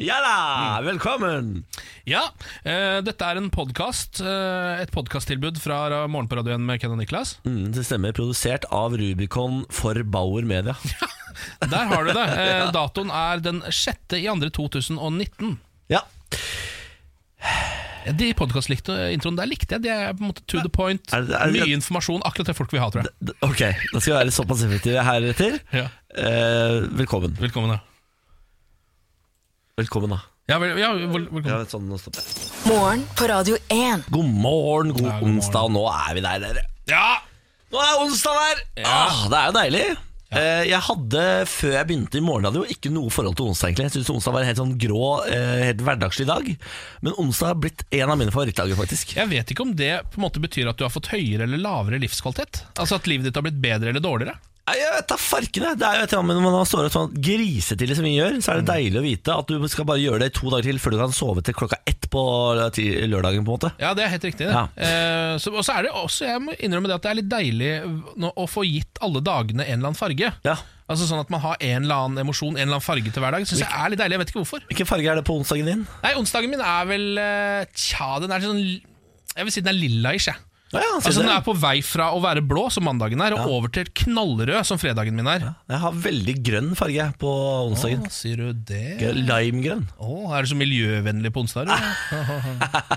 Ja da! Velkommen! Ja, eh, dette er en podkast. eh, et podkasttilbud fra ra- Morgen på radioen med Ken og Niklas. Mm, det stemmer. Produsert av Rubicon for Bauer Media. Der har du det. Eh, datoen er den 6. i andre 2019. Ja. Eh, De podkastintroene der likte jeg. De er på en måte to the point. Er det- er det- Mye informasjon. Akkurat det folk vil ha, tror jeg. D- Ok, da skal vi være såpass effektive heretter. Ja. Eh, velkommen. Velkommen, ja. Velkommen, da. Ja, vel, ja, vel, velkommen. Ja, sånn, nå stopper jeg. Morgen på Radio 1. God morgen, god, Ja, god morgen. onsdag. Nå er vi der, dere. Ja! Nå er onsdag der! Ah, det er jo deilig. Eh, Jeg hadde, Før jeg begynte i morgenradio, ikke noe forhold til onsdag. egentlig Jeg syntes onsdag var en helt sånn grå, eh, helt hverdagslig dag. Men onsdag har blitt en av mine favorittdager, faktisk. Jeg vet ikke om det på en måte betyr at du har fått høyere eller lavere livskvalitet. Altså at livet ditt har blitt bedre eller dårligere. Nei, Jeg vet da farkene! Det er jo et eller annet med Når man står opp sånn grisetidlig som vi gjør, så Mm. er det deilig å vite at du skal bare gjøre det i to dager til før du kan sove til klokka ett på ti- lørdagen. på en måte Ja, det er helt riktig. det. Ja. Eh, så, og så er det også, jeg må innrømme det, at det er litt deilig nå, å få gitt alle dagene en eller annen farge. Ja. Altså Sånn at man har en eller annen emosjon, en eller annen farge til hver dag. Synes jeg er litt deilig, jeg vet ikke hvorfor. Hvilken farge er det på onsdagen din? Nei, Onsdagen min er vel eh, Tja, den er sånn Jeg vil si den er lilla-ish. jeg. Ja, ja, Altså sier Den det. er på vei fra å være blå, som mandagen er, og over til knallrød, som fredagen min er. Jeg har veldig grønn farge jeg, på onsdagen. Å, sier du det? Limegrønn. Å, er du så miljøvennlig på onsdag? Ah. Du?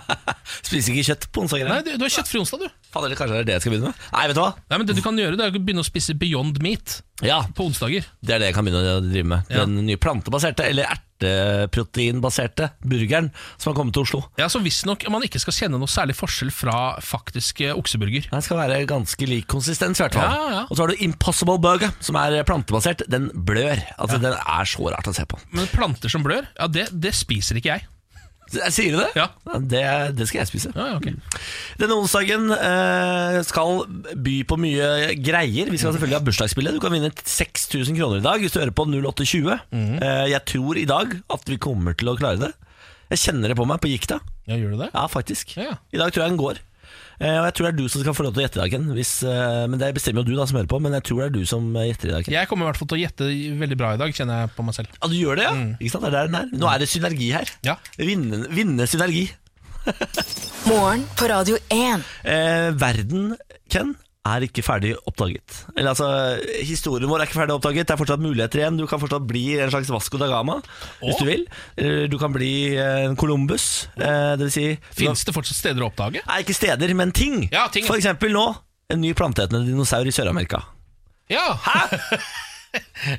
Spiser ikke kjøtt på onsdager. Nei, jeg. du, du har kjøttfri onsdag, du. Fader, det kanskje er det jeg skal begynne med? Nei, vet du hva? Nei, men Det du kan gjøre, det er å begynne å spise Beyond Meat Ja, på onsdager. Det er det jeg kan begynne å drive med. Ja. Den nye plantebaserte, eller erteproteinbaserte burgeren som har kommet til Oslo. Ja, så Visstnok man ikke skal kjenne noe særlig forskjell fra faktisk eh, okseburger. Den skal være ganske lik konsistens, i hvert fall. Ja, ja. Og så har du Impossible Burger, som er plantebasert. Den blør. Altså, Den er så rart å se på. Men planter som blør, ja, det, det spiser ikke jeg. Sier du det? Ja. Det, det skal jeg spise. Ja, ja, ok. Denne onsdagen eh, skal by på mye greier. Vi skal selvfølgelig ha bursdagsbilde. Du kan vinne 6000 kroner i dag hvis du hører på 0820. Mhm. Eh, jeg tror i dag at vi kommer til å klare det. Jeg kjenner det på meg på gikta. Ja, Gjør du det? Ja, faktisk. Ja. I dag tror jeg den går. Eh, og jeg tror det er du som skal få lov til å gjette i dag, Ken. Hvis, eh, men det bestemmer jo du da som hører på, men jeg tror det er du som eh, gjetter i dag. Ken. Jeg kommer i hvert fall til å gjette veldig bra i dag, kjenner jeg på meg selv. Ja, du gjør det, ja? Ikke sant? Det er der den er. Nå er det synergi her. Mm. Ja. Vinne, vinne synergi. Morgen på Radio 1. Eh, verden, Ken, er ikke ferdig oppdaget. Eller altså, historien vår er ikke ferdig oppdaget. Det er fortsatt muligheter igjen. Du kan fortsatt bli en slags Vasco da Gama, hvis Å. du vil. Eller Du kan bli eh, en Columbus. Eh, det vil si Fins det fortsatt steder å oppdage? Nei, ikke steder, men ting. Ja, ting. For eksempel nå, en ny planteetende dinosaur i Sør-Amerika. Ja! Hæ?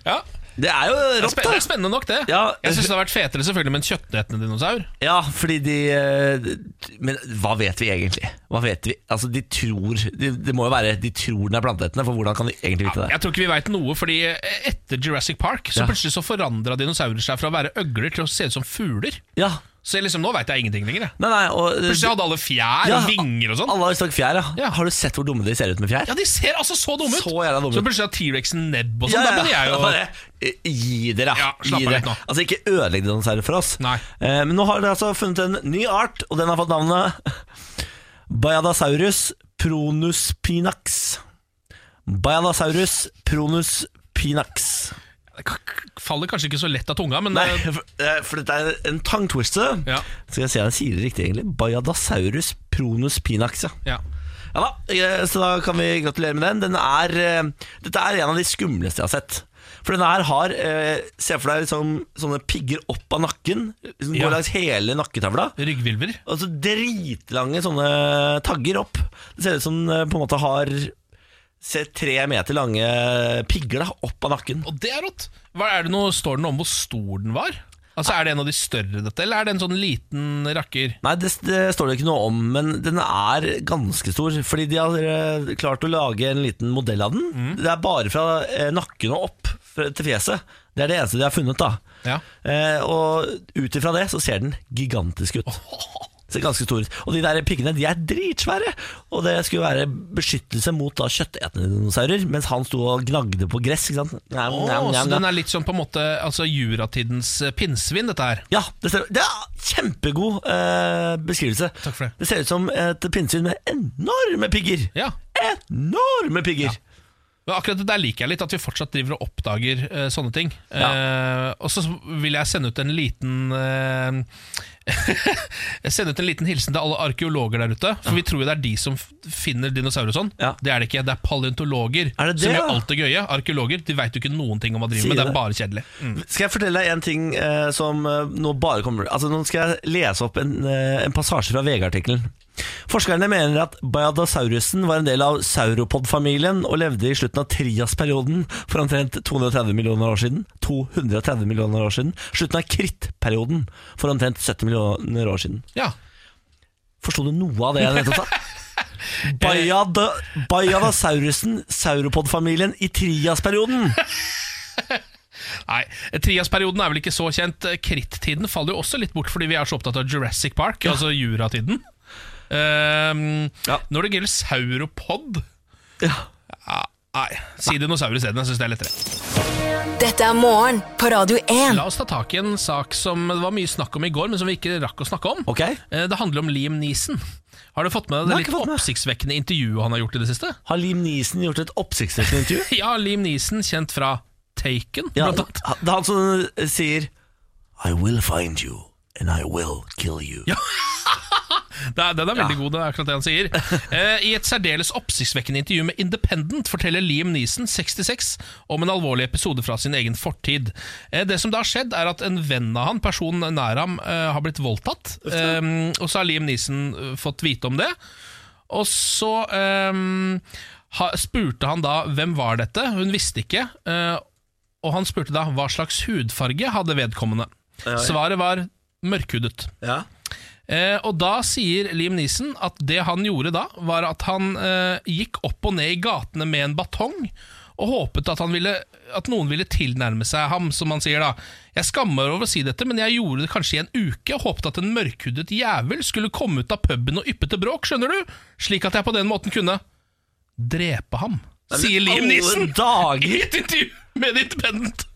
ja. Det er jo Det er rått, spen- det er da! spennende nok, det. Ja. jeg syns det hadde vært fetere selvfølgelig med en kjøttetende dinosaur. Ja, fordi de eh, Men hva vet vi egentlig? Hva vet vi? Altså, de tror Det det må jo være de tror den er planteetende, for hvordan kan de egentlig vite det? Jeg tror ikke vi veit noe, fordi etter Jurassic Park Så Ja. plutselig så forandra dinosaurer seg fra å være øgler til å se ut som fugler. Ja, Så jeg liksom, nå veit jeg ingenting lenger. Jeg. nei, nei og, Plutselig hadde alle fjær Ja, og vinger og sånn. Alle har jo snakket fjær, ja. Ja. Har du sett hvor dumme de ser ut med fjær? Ja, De ser altså så dumme ut! Så jævla dumme ut. Så plutselig har T-rexen nebb og sånn. Da begynner jeg jo Bare, eh, Gi dere, Ja, Gi slapp av dere. litt nå. Altså, ikke ødelegg dinosaurer for oss. Nei. Eh, men nå har dere altså funnet en ny art, og den har fått navnet Bayadasaurus pronuspinax. Bayadasaurus pronuspinax. Det k- faller kanskje ikke så lett av tunga, men Nei, eh, for, eh, for dette er en tongue twister. Ja. Skal jeg se om jeg sier det riktig, egentlig. Bayadasaurus pronuspinax, ja. ja. Ja da, eh, så da kan vi gratulere med den. den er, eh, dette er en av de skumleste jeg har sett. For denne her har eh, Se for deg liksom, sånne pigger opp av nakken. Som Ja. går langs hele nakketavla. Ryggvilver. Og så dritlange sånne tagger opp. Det ser ut som eh, på en måte har se, tre meter lange pigger da, opp av nakken. Og det er rått! Hva er det nå, Står det noe om hvor stor den var? Altså Er det en av de større, dette, eller er det en sånn liten rakker? Nei, det, det står det ikke noe om, men den er ganske stor. Fordi de har eh, klart å lage en liten modell av den. Mm. Det er bare fra eh, nakken og opp fra- til fjeset. Det er det eneste de har funnet, da. Ja. Eh, og ut ifra det så ser den gigantisk ut. Ser ganske stor ut. Og de der piggene de er dritsvære! Og det skulle være beskyttelse mot da kjøttetende dinosaurer, mens han sto og gnagde på gress. ikke sant? Njam, Å, njam, så njam, den njam. er litt sånn på en måte altså, juratidens eh, pinnsvin, dette her. Ja, det stemmer. Det er Kjempegod eh, beskrivelse. Takk for det. Det ser ut som et pinnsvin med enorme pigger. Ja. Enorme pigger! Men akkurat det der liker jeg litt, at vi fortsatt driver og oppdager eh, sånne ting. Eh, og så vil jeg sende ut en liten eh, Sende ut en liten hilsen til alle arkeologer der ute. For vi tror jo det er de som f- finner dinosaurer og sånn. Ja. Det er det ikke. Det er paleontologer Er det det, som gjør ja? alt det gøye. Arkeologer de veit jo ikke noen ting om hva de Sier driver med. Det det. er bare kjedelig. Mm. Skal jeg fortelle deg en ting eh, som eh, nå bare kommer Altså Nå skal jeg lese opp en, eh, en passasje fra VG-artikkelen. Forskerne mener at Bayadasaurusen var en del av sauropod-familien og levde i slutten av triasperioden for omtrent 230 millioner år siden. 230 millioner år siden Slutten av krittperioden for omtrent 70 millioner år siden. Ja. Forsto du noe av det jeg nettopp sa? Bayada, Bayadasaurusen, sauropod-familien i triasperioden. Nei, Triasperioden er vel ikke så kjent. Krittiden faller jo også litt bort fordi vi er så opptatt av Jurassic Park, altså juratiden. Ehm, Ja. Når det gjelder sauropod Ja. Nei, si dinosaur isteden. Jeg syns det er lettere. Dette er morgen på Radio 1. La oss ta tak i en sak som det var mye snakk om i går, men som vi ikke rakk å snakke om. Ok. Eh, Det handler om Liam Neeson. Har du fått med deg Nei, det ikke litt fått med. oppsiktsvekkende intervjuet han har gjort i det siste? Har Liam Neeson gjort et oppsiktsvekkende intervju? Ja, Liam Neeson, kjent fra Taken, Ja, blant annet. det er han som eh, sier I will find you and I will kill you. Ja, Det er, den er veldig god, det er akkurat det han sier. Eh, I et særdeles oppsiktsvekkende intervju med Independent forteller Liam Neeson, 66, om en alvorlig episode fra sin egen fortid. Eh, det som da har skjedd, er at en venn av han, personen nær ham, eh, har blitt voldtatt. Eh, og så har Liam Neeson eh, fått vite om det. Og så eh, ha, spurte han da hvem var dette, hun visste ikke. Eh, og han spurte da hva slags hudfarge hadde vedkommende. Svaret var mørkhudet. Eh, og da sier Liam Neeson at det han gjorde da, var at han eh, gikk opp og ned i gatene med en batong, og håpet at, han ville, at noen ville tilnærme seg ham, som han sier da. Jeg skammer meg over å si dette, men jeg gjorde det kanskje i en uke, og håpet at en mørkhudet jævel skulle komme ut av puben og yppe til bråk, skjønner du? Slik at jeg på den måten kunne drepe ham, sier Liam Neeson i Dager. et intervju med The Independent.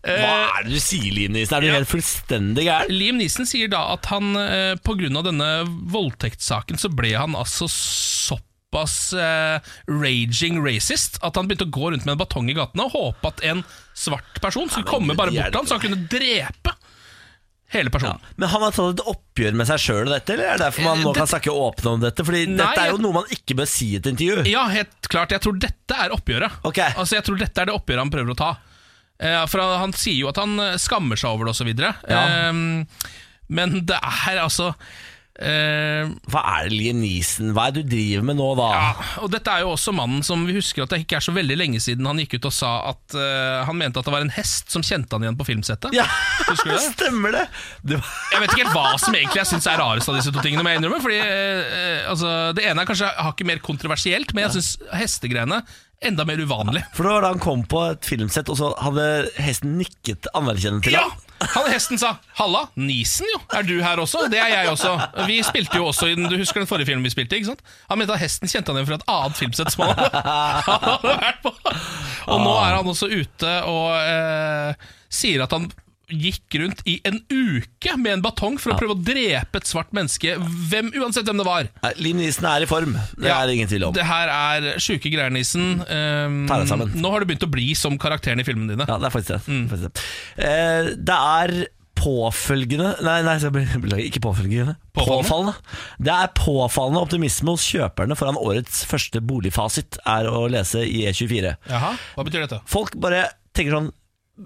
Eh. Hva er det du sier, Liam Neeson? Er du helt fullstendig gæren? Liam Neeson sier da at han eh, pga. denne voldtektssaken så ble han altså såpass eh, raging racist at han begynte å gå rundt med en batong i gatene og håpe at en svart person skulle komme de bare er bort til ham, så han kunne drepe hele personen. Men han har tatt et oppgjør med seg sjøl og dette, eller er det derfor man nå kan snakke åpne om dette? Fordi Eh, Nei, dette er jo jeg- noe man ikke bør si i et intervju. Ja, helt klart. Jeg tror dette er oppgjøret. Ok. Altså, jeg tror dette er det oppgjøret han prøver å ta. Eh, for han- han sier jo at han eh, skammer seg over det, osv. videre Ja. Eh, men det er altså eh, Hva er det, Liam Neeson? Hva er det du driver med nå, da? Ja, og dette er jo også mannen som vi husker at det ikke er så veldig lenge siden han gikk ut og sa at eh, han mente at det var en hest som kjente han igjen på filmsettet. Ja, Husker du det? Stemmer det! det var... Jeg vet ikke helt hva som egentlig jeg syns er rarest av disse to tingene. må jeg innrømme, fordi eh, eh, altså, Det ene er kanskje hakket mer kontroversielt, men jeg syns hestegreiene enda mer uvanlig. For det var da han kom på et filmsett, og så hadde hesten nikket anerkjennende til Ja! ham. Han hesten sa 'Halla, Nisen jo, er du her også?' Det er jeg også. Vi spilte jo også i den, Du husker den forrige filmen vi spilte? ikke sant? Han mente at hesten kjente han igjen fra et annet filmsett som han han hadde vært på. Og nå er han også ute og eh, sier at han gikk rundt i en uke med en batong for å prøve å drepe et svart menneske, hvem, uansett hvem det var. Nei, Liam Neeson er i form, det Ja, er det ingen tvil om. Det her er sjuke greier, Nisen. Um, Ta deg sammen. nå har du begynt å bli som karakteren i filmene dine. Ja, det er faktisk det. Faktisk det. Eh, det er påfølgende Nei, nei jeg beklager, ikke påfølgende. Påfallende? Påfallende. Det er påfallende optimisme hos kjøperne foran årets første boligfasit, er å lese i E24. Jaha, Hva betyr dette? Folk bare tenker sånn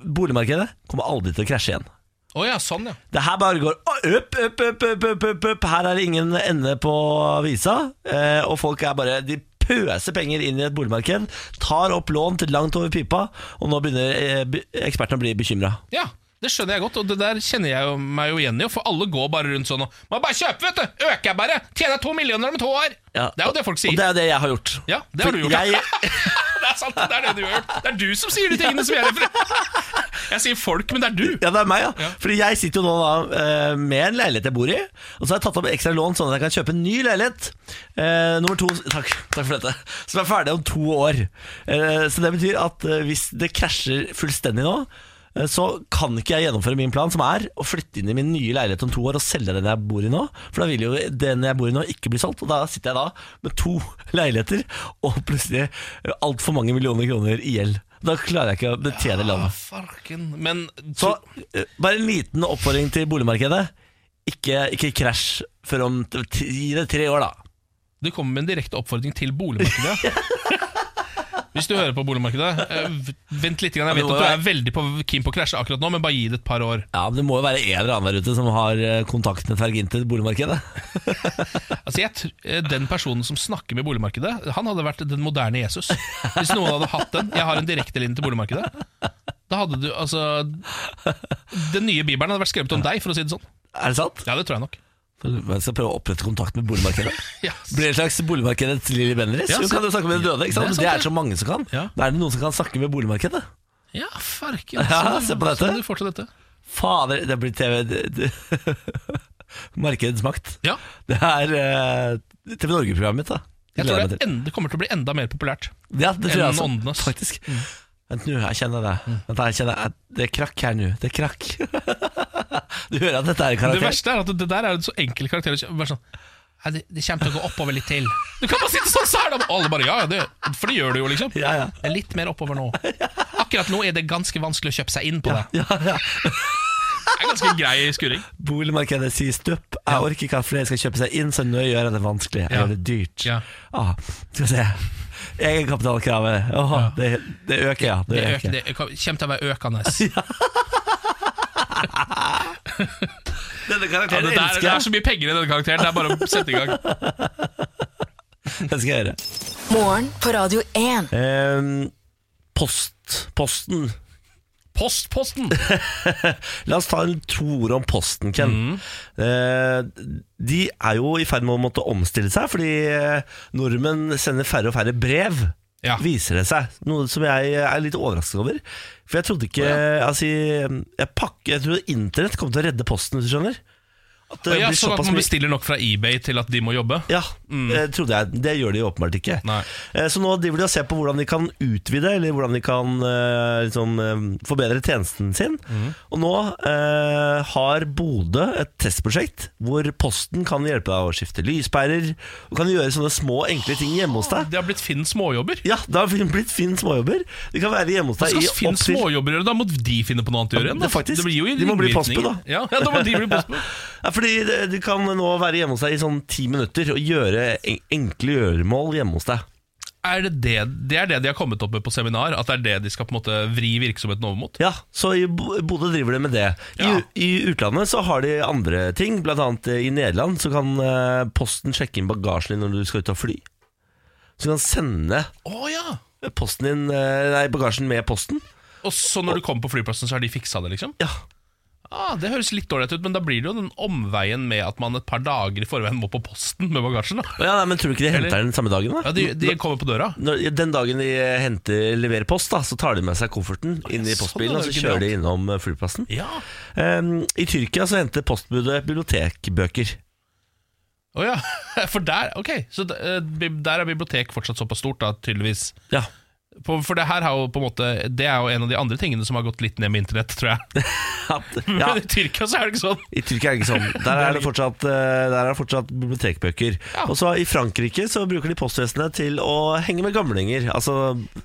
Boligmarkedet kommer aldri til å krasje igjen. Å ja, sånn, ja. Det her bare går opp, opp, opp, opp, opp, opp, opp. Her er det ingen ende på visa. Eh, og folk er bare De pøser penger inn i et boligmarked, tar opp lån til langt over pipa, og nå begynner eh, be- ekspertene å bli bekymra. Ja, det skjønner jeg godt, og det der kjenner jeg jo, meg jo igjen i. For alle går bare rundt sånn og Man bare kjøper, vet du! Øker jeg bare! Tjener to millioner om to år! Ja, Det er jo det folk Og sier. det er jo det jeg har gjort. Ja, det har For du gjort. Jeg, det er sant, det er det du gjør. Det er du som sier de tingene som jeg refererer Jeg sier folk, men det er du. Ja, det er meg, ja. Ja. Fordi jeg sitter jo nå da eh, med en leilighet jeg bor i. Og så har jeg tatt opp ekstra lån sånn at jeg kan kjøpe en ny leilighet. Eh, nummer to takk, takk for dette. Som er ferdig om to år. Eh, så det betyr at eh, hvis det krasjer fullstendig nå, eh, så kan ikke jeg gjennomføre min plan, som er å flytte inn i min nye leilighet om to år og selge den jeg bor i nå. For da vil jo den jeg bor i nå, ikke bli solgt. Og da sitter jeg da med to leiligheter og plutselig altfor mange millioner kroner i gjeld. Da klarer jeg ikke å betjene landet. Ah, farken. Men Så eh, bare en liten oppfordring til boligmarkedet. Ikke, ikke krasj før om t- ti- gi det tre år, da. du kommer med en direkte oppfordring til boligmarkedet. Hvis du hører på boligmarkedet, eh, v- vent litt. grann. Jeg vet Ja, det at må du er veldig på, keen på å krasje akkurat nå, men bare gi det et par år. Ja, men Det må jo være en eller annen der ute som har eh, kontaktnettverk inn til boligmarkedet. Altså, jeg tr eh, Den personen som snakker med boligmarkedet, han hadde vært den moderne Jesus. Hvis noen hadde hatt den. Jeg har en direktelinje til boligmarkedet. Da hadde du, altså Den nye bibelen hadde vært skrevet om deg, for å si det sånn. Er det sant? Ja, det tror jeg nok. Jeg skal prøve å opprette kontakt med boligmarkedet. Ja. Blir en slags boligmarkedets Lilly Bendriss. Ja, Hun så- kan jo snakke med de døde. ikke det er sant? sant, Det det. er så mange som kan. Ja. Da er det noen som kan snakke med boligmarkedet. Ja, farken. Ja, se på dette. Så du får til dette. Fader, det blir TV det- det- Markedets makt. Ja. Det er eh, TV Norge-programmet mitt, da. Jeg Gleder tror meg det, til. er en- det kommer til å bli enda mer populært. Ja, det tror jeg enn altså, åndenes. faktisk. Mm. Vent nå, jeg kjenner det. Vent, jeg kjenner jeg, Det er krakk her nå. Det er krakk. du hører at dette er en Det karakter? verste er at det der er en så enkel karakter. å kjø- Bare sånn «Nei, det, det kommer til å gå oppover litt til. Du kan bare sitte sånn, så er det Og alle bare ja, ja, det, for det gjør det jo, liksom. Ja, ja. Det er litt mer oppover nå. Akkurat nå er det ganske vanskelig å kjøpe seg inn på det. Ja, ja. Det er ganske grei skuring. Boligmarkedet sier stopp. Jeg orker ikke at flere skal kjøpe seg inn, så nå gjør jeg det vanskelig. Jeg Ja. gjør det dyrt. Ja. Ah, skal vi se. Egenkapitalkravet. Åh, det, det øker, ja. Det, Det, øker, øker. det øker- kommer til å være økende. Denne Ja, karakteren det, der, elsker det er jeg. så mye penger i denne karakteren. Det er bare å sette i gang. Det skal jeg gjøre. Morgen på Radio 1. Ehm, post. Posten. Postposten! La oss ta en to ord om Posten, Ken. Mm. Eh, de er jo i ferd med å måtte omstille seg, fordi eh, nordmenn sender færre og færre brev. Ja. Viser det seg. Noe som jeg er litt overrasket over. For jeg trodde ikke Altså, jeg, pakker, jeg trodde internett kom til å redde Posten, hvis du skjønner. At det Ja, blir sånn at såpass man mye bestiller nok fra eBay til at de må jobbe. ja, eh, trodde jeg. Det gjør de jo åpenbart ikke. Mm. Nei. Eh, Så nå driver de og ser på hvordan de kan utvide, eller hvordan de kan eh, liksom, eh, forbedre tjenesten sin. Mm. Og nå eh, har Bodø et testprosjekt hvor Posten kan hjelpe deg å skifte lyspærer, og kan gjøre sånne små, enkle ting hjemme hos deg. Det har blitt Finn småjobber. Ja, det har blitt Finn småjobber. De kan være hjemme hos Hva deg skal i Finn opptil småjobber gjøre? Da må de finne på noe annet å gjøre igjen. da. Ja, faktisk. Det blir jo De må bli postbud, ringvirkninger. da. Ja, ja, da må de bli postbud. Ja, fordi det- Du kan nå være hjemme hos deg i sånn ti minutter og gjøre en- enkle gjøremål hjemme hos deg. Er det, det, det er det de har kommet opp med på seminar? At det er det de skal på en måte vri virksomheten over mot? Ja, så i Bo- Bodø driver de med det. I, Ja. I utlandet så har de andre ting, blant annet eh, i Nederland så kan eh, posten sjekke inn bagasjen din når du skal ut og fly. Så du kan sende Å ja! posten din, eh, nei, bagasjen med posten. Og så når du kommer på flyplassen, så har de fiksa det, liksom? Ja, Ah, det høres litt dårlig ut, men da blir det jo den omveien med at man et par dager i forveien må på posten med bagasjen. da Å ja nei, men tror du ikke de henter den samme dagen da? Ja, De, de kommer på døra. Når, den dagen de henter, leverer post da, så tar de med seg kofferten inn i sånn, postbilen, og det er så jo kjører de innom eh, flyplassen. Ja. Em, I Tyrkia så henter postbudet bibliotekbøker. Å ja. For der ok Så d- eh, bib- der er bibliotek fortsatt såpass stort, da, tydeligvis. Ja, På- For det her har jo på en måte Det er jo en av de andre tingene som har gått litt ned med internett, tror jeg. ja. Men i Tyrkia så er det ikke sånn. I Tyrkia er det ikke sånn. Der er det fortsatt, eh, der er det fortsatt bibliotekbøker. Ja. Og så I Frankrike så bruker de postvesenet til å henge med gamlinger. Altså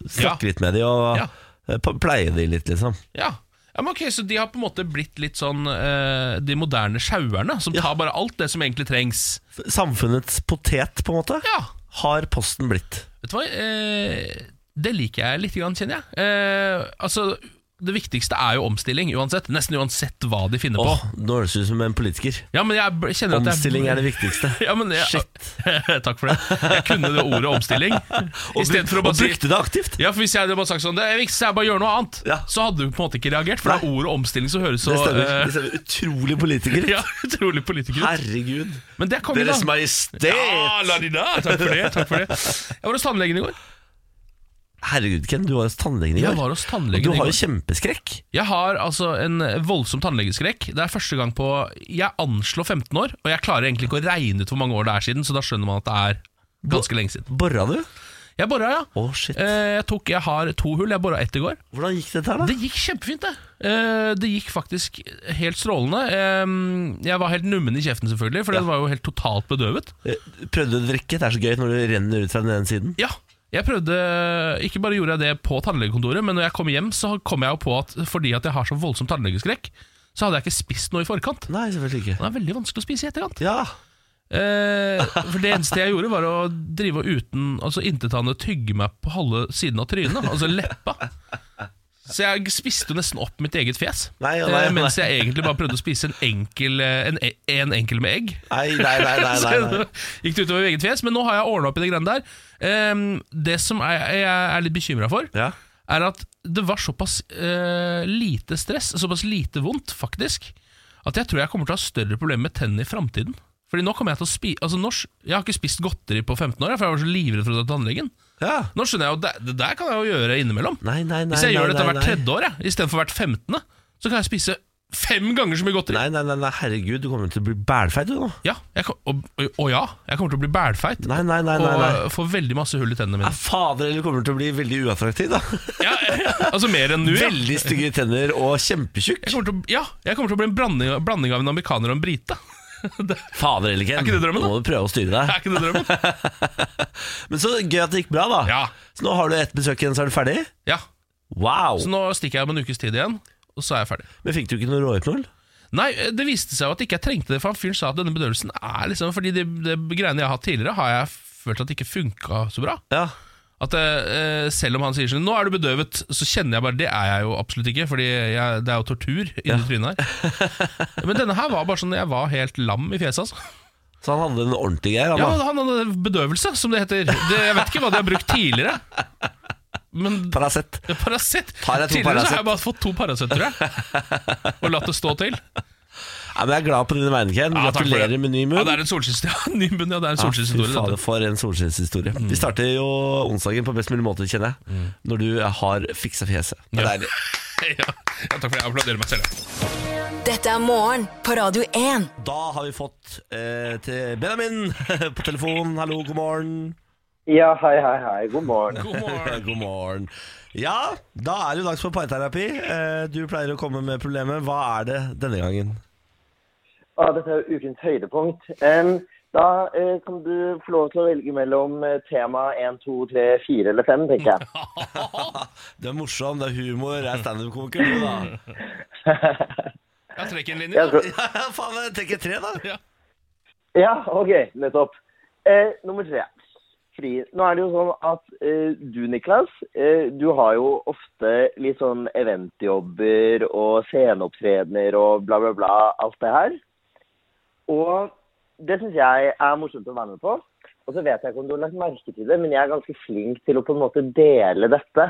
snakke litt med de og Ja. eh, p- pleie de litt, liksom. Ja, ja men ok, Så de har på en måte blitt litt sånn eh, de moderne sjauerne, som tar bare alt det som egentlig trengs. Samfunnets potet, på en måte, Ja, har posten blitt. vet du hva? Eh, det liker jeg litt, grann, kjenner jeg. Eh, altså, Det viktigste er jo omstilling, uansett. Nesten uansett hva de finner Åh, på. Nå høres det ut som en politiker. Ja, men jeg b- kjenner at jeg- Omstilling er det viktigste. Ja, men jeg, Shit. Takk for det. Jeg kunne det ordet omstilling. I stedet for å Og bare si brukte det aktivt! ja, for Hvis jeg hadde bare sagt sånn Det viktigste er bare å gjøre noe annet, Ja. så hadde du på en måte ikke reagert. For det er ordet omstilling som høres så Det stemmer. eh, Det stemmer. Utrolig politiker. ja, utrolig politiker ut. Herregud. Men det kom vi da. Deres Majestet! Ja, la de da. Takk for det. Takk for det. Jeg var hos tannlegen i går. Herregud, Ken, du var hos tannlegen i går. Jeg var hos og tannlegen du i har går. jo kjempeskrekk. Jeg har altså en voldsom tannlegeskrekk. Det er første gang på Jeg anslår 15 år, og jeg klarer egentlig ikke å regne ut hvor mange år det er siden, så da skjønner man at det er ganske lenge siden. Borra du? Jeg bora, ja. Å, shit. Eh, Jeg, tok, jeg har to hull. Jeg bora ett i går. Hvordan gikk dette her, da? Det gikk kjempefint, det. Eh, Det gikk faktisk helt strålende. Eh, Jeg var helt nummen i kjeften, selvfølgelig, for den var jo helt totalt bedøvet. Eh, Prøvde du å drikke? Det er så gøy når det renner ut fra den ene siden. Ja, jeg prøvde Ikke bare gjorde jeg det på tannlegekontoret, men når jeg kom hjem, så kom jeg jo på at fordi at jeg har så voldsom tannlegeskrekk, så hadde jeg ikke spist noe i forkant. Nei, selvfølgelig ikke. Det er veldig vanskelig å spise i etterkant. Ja, Eh, for det eneste jeg gjorde, var å drive og uten Altså intetanende tygge meg på halve siden av trynet, altså leppa. Så jeg spiste jo nesten opp mitt eget fjes, Nei, nei, eh, mens jeg egentlig bare prøvde å spise en enkel, eh, en, e- en enkel med egg. nei, nei, nei, nei, nei, nei. Så gikk det utover eget fjes, men nå har jeg ordna opp i det greiene der. Ehm, det som jeg, jeg er litt bekymra for, Ja. er at det var såpass eh, lite stress, såpass lite vondt, faktisk, at jeg tror jeg kommer til å ha større problemer med tennene i framtiden. Fordi nå kommer Jeg til å spi altså, nå, sk- jeg har ikke spist godteri på 15 år, for jeg var så livredd for å dra til tannlegen. ja. Nå skjønner jeg jo, det, det der kan jeg jo gjøre innimellom. Nei, nei, nei, Hvis jeg nei, gjør dette nei, hvert nei. tredje år, jeg, istedenfor hvert femtende, så kan jeg spise fem ganger så mye godteri. Nei, nei, nei, nei, herregud, du kommer til å bli bælfeit du nå. Ja, jeg, kom- og, og, og ja, jeg kommer til å bli bælfeit Nei, nei, nei, nei, og nei. eh, får veldig masse hull i tennene Nei, mine. fader, eller kommer til å bli veldig uattraktiv, da. Ja, altså mer enn nå, ja. Veldig stygge tenner og kjempetjukk. Jeg kommer, til, å- ja, jeg kommer til å bli en blanding, blanding av en amerikaner og en brite. Fader eller Ken, Er ikke det drømmen, da? nå må du prøve å styre Er deg. ikke det drømmen? Men så gøy at det gikk bra, da. Ja. Så nå har du ett besøk igjen, så er du ferdig? Ja, Wow! Så nå stikker jeg om en ukes tid igjen, og så er jeg ferdig. Men fikk du ikke noe råhypnol? Nei, eh, det viste seg jo at ikke jeg trengte det, for han fyren sa at denne bedøvelsen er liksom Fordi de, de greiene jeg har hatt tidligere, har jeg følt at det ikke funka så bra. Ja. At eh, eh, Selv om han sier sånn 'nå er du bedøvet', så kjenner jeg bare Det er jeg jo absolutt ikke, Fordi jeg, det er jo tortur inni trynet her. Men denne her var bare sånn jeg var helt lam i fjeset, altså. Så han hadde en ordentlig greie, han Ja, da. han hadde bedøvelse, som det heter. Det, jeg vet ikke hva de har brukt tidligere. Men Paracet. Ja, Paracet. Tar jeg to Tidligere så Paracet? har jeg bare fått to Paracet, tror jeg. Og latt det stå til. Ja, men jeg er glad på dine vegne, Ken. Ja, takk for Gratulerer det. med ny Ja, munn. det er en solskinnshistorie. Ja, ny munn, ja, det er Ja, en fy solskinnshistorie. fader, dette. Mm. for en solskinnshistorie. Vi starter jo onsdagen på best mulig måte, kjenner jeg. Når du har fiksa fjeset. Det er Ja. deilig. Ja, ja, takk for det. Jeg applauderer meg selv. Dette er morgen på Radio 1. Da har vi fått eh, til Benjamin på telefonen. Hallo, god morgen. Ja, hei, hei, hei. God morgen. God morgen. God morgen. Ja, da er det jo dags for parterapi. Eh, Du pleier å komme med problemet. Hva er det denne gangen? Ah, dette er jo ukens høydepunkt. Em, da eh, kan du få lov til å velge mellom eh, tema 1, 2, 3, 4 eller 5, tenker jeg. Det er morsom, det er humor, det er standup-komiker. du, da. Jeg trekker en jeg linje. tror... Ja, faen, jeg tenker tre, da. Ja, ok, nettopp. Eh, nummer tre. Fri. Nå er det jo sånn at eh, du, Niklas, eh, du har jo ofte litt sånn eventjobber og sceneopptredener og bla, bla, bla, alt det her. Og det syns jeg er morsomt å være med på. Og så vet jeg ikke om du har lagt merke til det, men jeg er ganske flink til å på en måte dele dette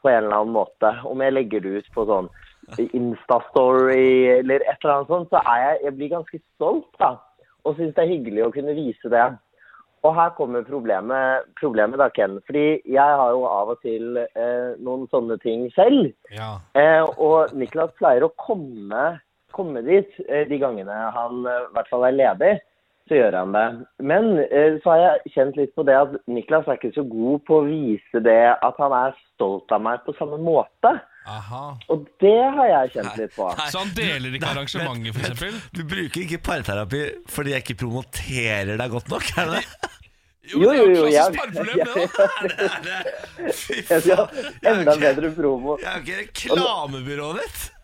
på en eller annen måte. Om jeg legger det ut på sånn Insta-story eller et eller annet sånt, så er jeg, jeg blir ganske stolt, da. Og syns det er hyggelig å kunne vise det. Og her kommer problemet, problemet da, Ken. Fordi jeg har jo av og til eh, noen sånne ting selv. Ja. Eh, og Niklas pleier å komme, komme dit eh, de gangene han eh, i hvert fall er ledig. Så gjør han det. Men eh, så har jeg kjent litt på det at Niklas er ikke så god på å vise det at han er stolt av meg på samme måte. Aha. Og det har jeg kjent litt på. Så han deler ikke arrangementet, for eksempel? Du bruker ikke parterapi fordi jeg ikke promoterer deg godt nok? er det det? Jo, jo, jo. Jeg, Jeg, det, Det er det. Fy jeg faen. skal ha Jeg er enda ikke- bedre promo. Jeg er jo ikke reklamebyrået ditt. da.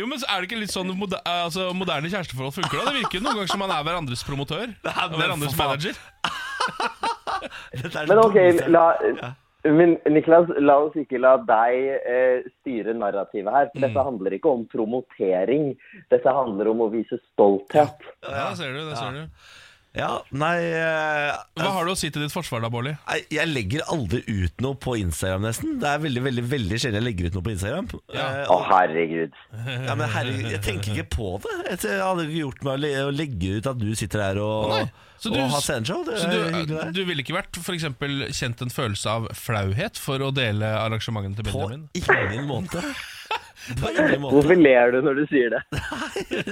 jo, men så er det ikke litt sånn moder eh, altså, moderne kjæresteforhold funker da? Det virker jo noen ganger som han er hverandres promotør. Og men hverandres for faen. manager. Dette er Men det ok, dummeste jeg- la, men Niklas, la oss ikke la deg eh, styre narrativet her. For dette handler ikke om promotering. Dette handler om å vise stolthet. Ja, ser du, det ser du. Ja, nei eh, Hva har du å si til ditt forsvar da, Bårli? Nei, Jeg legger aldri ut noe på Instagram nesten Det er veldig, veldig, veldig sjelden jeg legger ut noe på Instagram Ja. Eh, Å, herregud. ja, men herre, Jeg tenker ikke på det Jeg hadde ikke gjort meg å le- å legge ut at du sitter her og, Å, nei. Så du- og har sceneshow Det Så er du, hyggelig det. du ville ikke vært for eksempel, kjent en følelse av flauhet for å dele arrangementene til På Benjamin? ingen måte På ingen måte Hvorfor ler du når du sier det?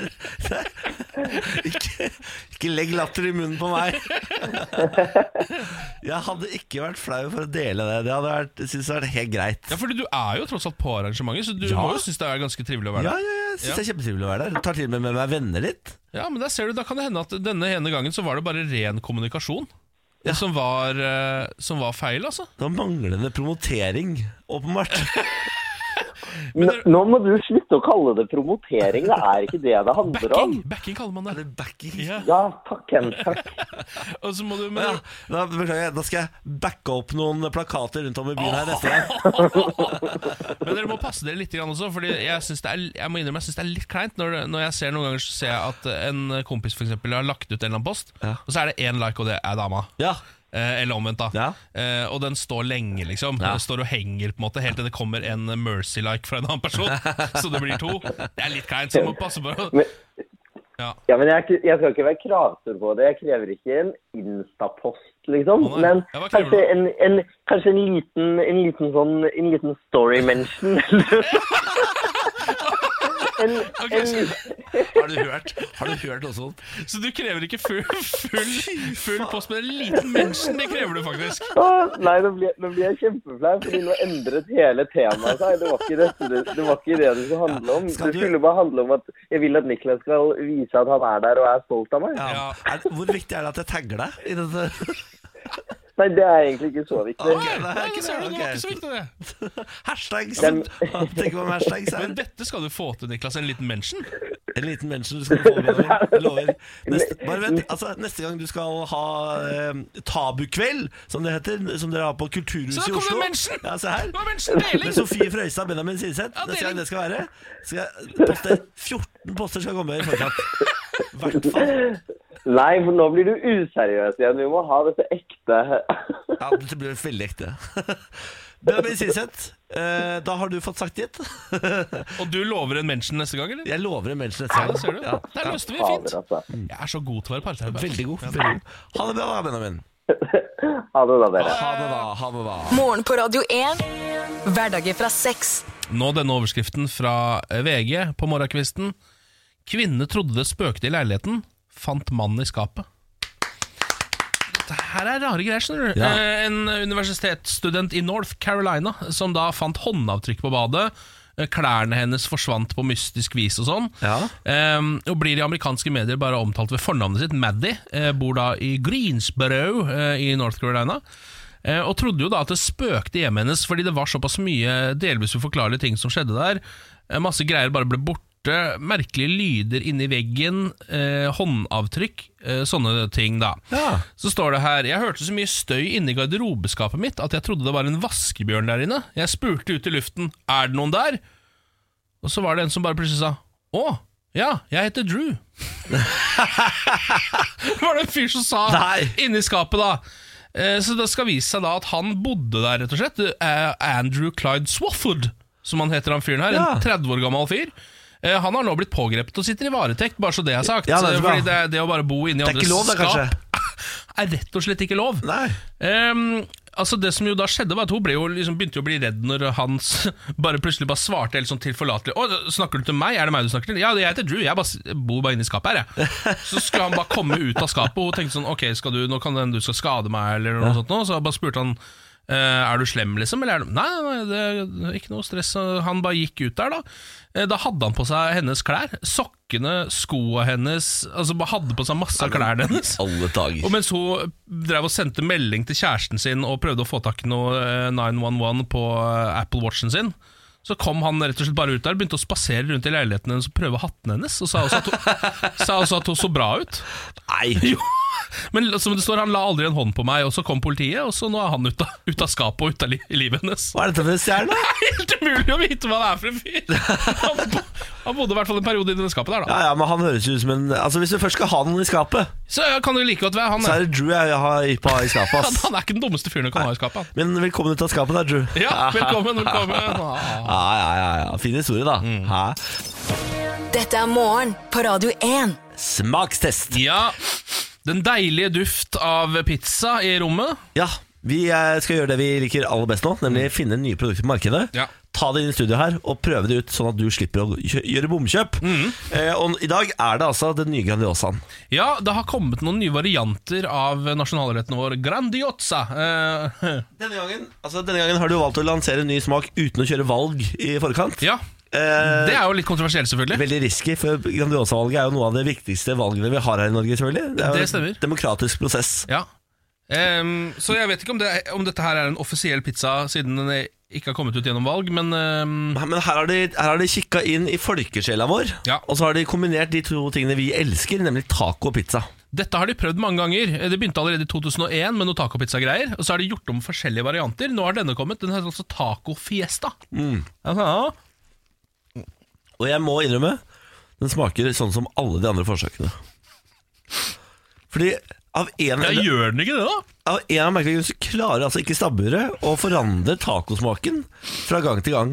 ikke, ikke legg latter i munnen på meg Jeg hadde ikke vært flau for å dele det Det hadde vært, synes det hadde vært helt greit Ja, fordi du er jo tross alt på arrangementet, så du Ja. må jo synes det er ganske trivelig å være Ja, der. ja, jeg synes det er kjempetrivelig å være der Tar til og med med meg venner litt Ja, men der ser du, Da kan det hende at denne ene gangen så var det bare ren kommunikasjon som, var, eh, som var feil, altså. Det var manglende promotering, åpenbart Nå, nå må du slutte å kalle det promotering. Det er ikke det det handler om. Backing, backing kaller man det. Eller backing Ja. Ja, takk, Ken. Takk. Og så må du, men, ja, da, beklager jeg, da skal jeg backe opp noen plakater rundt om i byen her neste gang Men dere må passe dere litt grann også, Fordi jeg, synes det er, jeg må innrømme jeg syns det er litt kleint når, det, når jeg ser noen ganger så ser jeg at en kompis for eksempel, har lagt ut en eller annen post, Ja. og så er det én like, og det er dama. Ja, Eh, eller omvendt, da. Ja. Eh, og den står lenge, liksom. Ja. Den står og henger på en måte helt til det kommer en mercy-like fra en annen person. så det blir to. Det er litt kleint, så du må passe på. Men- Ja. Ja, men jeg, er ikke- jeg skal ikke være kravstor på det. Jeg krever ikke en Insta-post, liksom. Å, nei. Men Ja, hva krever kanskje du? en, en, kanskje en liten, en liten sånn En liten story mention. en, en, har du hørt, har du hørt noe sånt? Så du krever ikke full, full, full post, men en liten mensen, det krever du faktisk. å, nei, nå blir, nå blir jeg kjempeflau, fordi nå endret hele temaet seg. Det var ikke, dette, det, det var ikke det det skulle handle om. skal Det du- skulle bare handle om at jeg vil at Niklas skal vise at han er der og er stolt av meg. Ja. Ja. Er, hvor viktig er det at jeg tagger deg? I dette? Nei, det er egentlig ikke så viktig. Ok, det er Nei, ikke det, ser du, det var ikke så så viktig, det. Hashtags Den- Tenk om hashtags er Men dette skal du få til, Niklas. En liten mensen. En liten mention du skal få Benjamin. Jeg lover. Neste, bare vent, altså, neste gang du skal ha eh, tabukveld, som det heter, som dere har på Kulturhuset Så da i kommer Oslo mensen! Ja, se her. Det var mensendeling! Med Sofie Frøystad og Benjamin Sinseth. Ja, neste gang deling. det skal være. Skal jeg poste 14 poster skal komme i forkant. Hvert fall. Nei, for nå blir du useriøs igjen. Vi må ha dette ekte Ja, dette blir veldig ekte. Benjamin Sinseth, eh, da har du fått sagt ditt. Og du lover en mensen neste gang, eller? Jeg lover en mention Ja, neste det ser du. gang. Ja, Der løste vi Fader, fint. altså. Jeg er så god til å være parterapeut. Veldig god. Veldig god. Ha det bra, da, Benjamin. Ha det da, dere. Ha det, da. Ha det, da. Morgen på Radio 1. Hverdager fra seks. Nå denne overskriften fra VG på morgenkvisten. Kvinne trodde det spøkte i leiligheten, fant mannen i skapet. Dette her er rare greier, skjønner du. Ja. Eh, En universitetsstudent i North Carolina som da fant håndavtrykk på badet. eh, Klærne hennes forsvant på mystisk vis og sånn. Ja. Ehm, og blir i amerikanske medier bare omtalt ved fornavnet sitt, Maddie. eh, bor da i Greensboro eh, i North Carolina. Eh, og trodde jo da at det spøkte i hjemmet hennes, fordi det var såpass mye delvis uforklarlige ting som skjedde der. Eh, masse greier bare ble borte. Merkelige lyder inni veggen, eh, håndavtrykk, eh, sånne ting, da. Ja. Så står det her Jeg hørte så mye støy inni garderobeskapet mitt at jeg trodde det var en vaskebjørn der inne. Jeg spurte ut i luften Er det noen der? Og så var det en som bare plutselig sa Å, ja, jeg heter Drew. var det en fyr som sa Nei. inni skapet, da. Eh, Så det skal vise seg da at han bodde der, rett og slett. Eh, Andrew Clyde Swafford, som han heter han fyren her. Ja. En 30 år gammel fyr. Eh, Han har nå blitt pågrepet og sitter i varetekt, bare så det er sagt. Ja, det er så bra. Fordi det, det å bare bo inni Det er andres ikke lov, da, skap er rett og slett ikke lov. Nei. Ehm, altså Det som jo da skjedde, var at hun ble jo liksom begynte jo å bli redd når han s- bare plutselig bare svarte helt sånn tilforlatelig Å, snakker du til meg? Er det meg du snakker til? Ja, jeg heter Drew. Jeg bare, s- bor bare inni skapet her, jeg. Så skulle han bare komme ut av skapet, og hun tenkte sånn Ok, skal du, nå kan det hende du skal skade meg, eller noe sånt nå. Så bare spurte han «Eh, er du slem, liksom? Eller er du Nei, nei, nei, det er ikke noe stress. Han bare gikk ut der, da. Eh, Da hadde han på seg hennes klær. Sokkene, skoa hennes Altså bare hadde på seg masse av klærne hennes. Alle dager. Og mens hun drev og sendte melding til kjæresten sin og prøvde å få tak i noe eh, 911 på eh, Apple Watchen sin, så kom han rett og slett bare ut der, begynte å spasere rundt i leiligheten hennes og prøve hatten hennes, og sa også at hun, sa også at hun så bra ut. Nei. Jo. Men som det står, han la aldri en hånd på meg, og så kom politiet, og så nå er han ut av, ut av skapet og ut av li livet hennes. Hva er dette for en stjerne? Det er helt umulig å vite hva det er for en fyr! Han, bo- han bodde i hvert fall en periode i det skapet der, da. Ja, ja, men han høres jo ut som en Altså, Hvis du først skal ha noen i skapet, Så ja, kan det like godt være han. så ja. er det Drew jeg har i på- i skapet. Han, ass han er ikke den dummeste fyren du kan ha i skapet. han. Men velkommen ut av skapet der, Drew. Ja, velkommen, velkommen. Ah. Ja, ja, ja, ja. Fin historie, da. Mm. Hæ? Dette er morgen på Radio 1. Smakstest. Ja, den deilige duft av pizza i rommet. Ja, vi eh, skal gjøre det vi liker aller best nå, nemlig finne nye produkter på markedet. Mm. Ja. Ta det inn i studio her og prøve det ut, sånn at du slipper å kjø- gjøre bomkjøp. Mm. Eh, og i dag er det altså den nye Grandiosaen. Ja, det har kommet noen nye varianter av nasjonalretten vår, grandiosa. Eh, Denne gangen, altså, denne gangen har du valgt å lansere en ny smak uten å kjøre valg i forkant. ja, Eh, det er jo litt kontroversielt, selvfølgelig. Veldig risky, for Grandiosa-valget er jo noe av det viktigste valgene vi har her i Norge. selvfølgelig Det er jo Det stemmer. en demokratisk prosess. Ja. Ehm, så jeg vet ikke om, det, om dette her er en offisiell pizza, siden den ikke har kommet ut gjennom valg, men ehm, Men her har de, her har de kikka inn i folkesjela vår, Ja. og så har de kombinert de to tingene vi elsker, nemlig taco og pizza. Dette har de prøvd mange ganger. Det begynte allerede i 2001 med noe tacopizza-greier. Og så har de gjort om forskjellige varianter. Nå har denne kommet. Den heter altså Taco Fiesta. Altså, ja. Og jeg må innrømme, den smaker sånn som alle de andre forsøkene. Fordi av en Ja, eller gjør den ikke det, da? av en av merkelige grunner så klarer altså ikke stabburet å forandre tacosmaken fra gang til gang.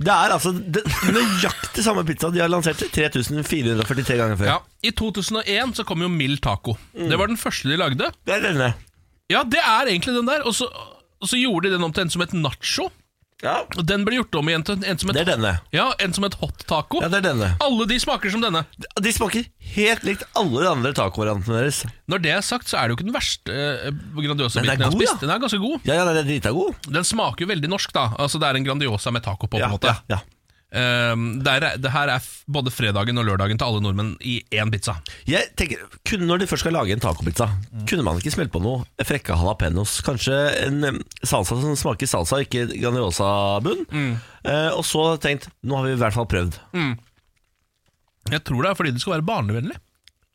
Det er altså det, nøyaktig samme pizza de har lansert 3443 ganger før. Ja, I 2001 så kom jo mild taco. Det var den første de lagde. Det er denne. Ja, det er egentlig den der. Og så, og så gjorde de den om til en som het nacho. Ja, Og den ble gjort om igjen til en som det het, er denne. ja, en som het hot taco. Ja, det er denne. Alle de smaker som denne. De smaker helt likt alle de andre tacovariantene deres. Når det er sagt, så er det jo ikke den verste eh, Grandiosa-biten Men den er jeg har god, spist. ja. Den er ganske god. Ja, ja, den er drita god. Den smaker jo veldig norsk, da. Altså, det er en Grandiosa med taco på, på en måte. Ja, ja. Ehm, det, er, det her er f- både fredagen og lørdagen til alle nordmenn i én pizza. Jeg tenker, kun Når de først skal lage en tacopizza, kunne man ikke smelt på noe frekke jalapeños? Kanskje en em, salsa som smaker salsa, ikke Grandiosa-bunn? Mm. Eh, og så tenkt nå har vi i hvert fall prøvd. Jeg tror det er fordi det skal være barnevennlig.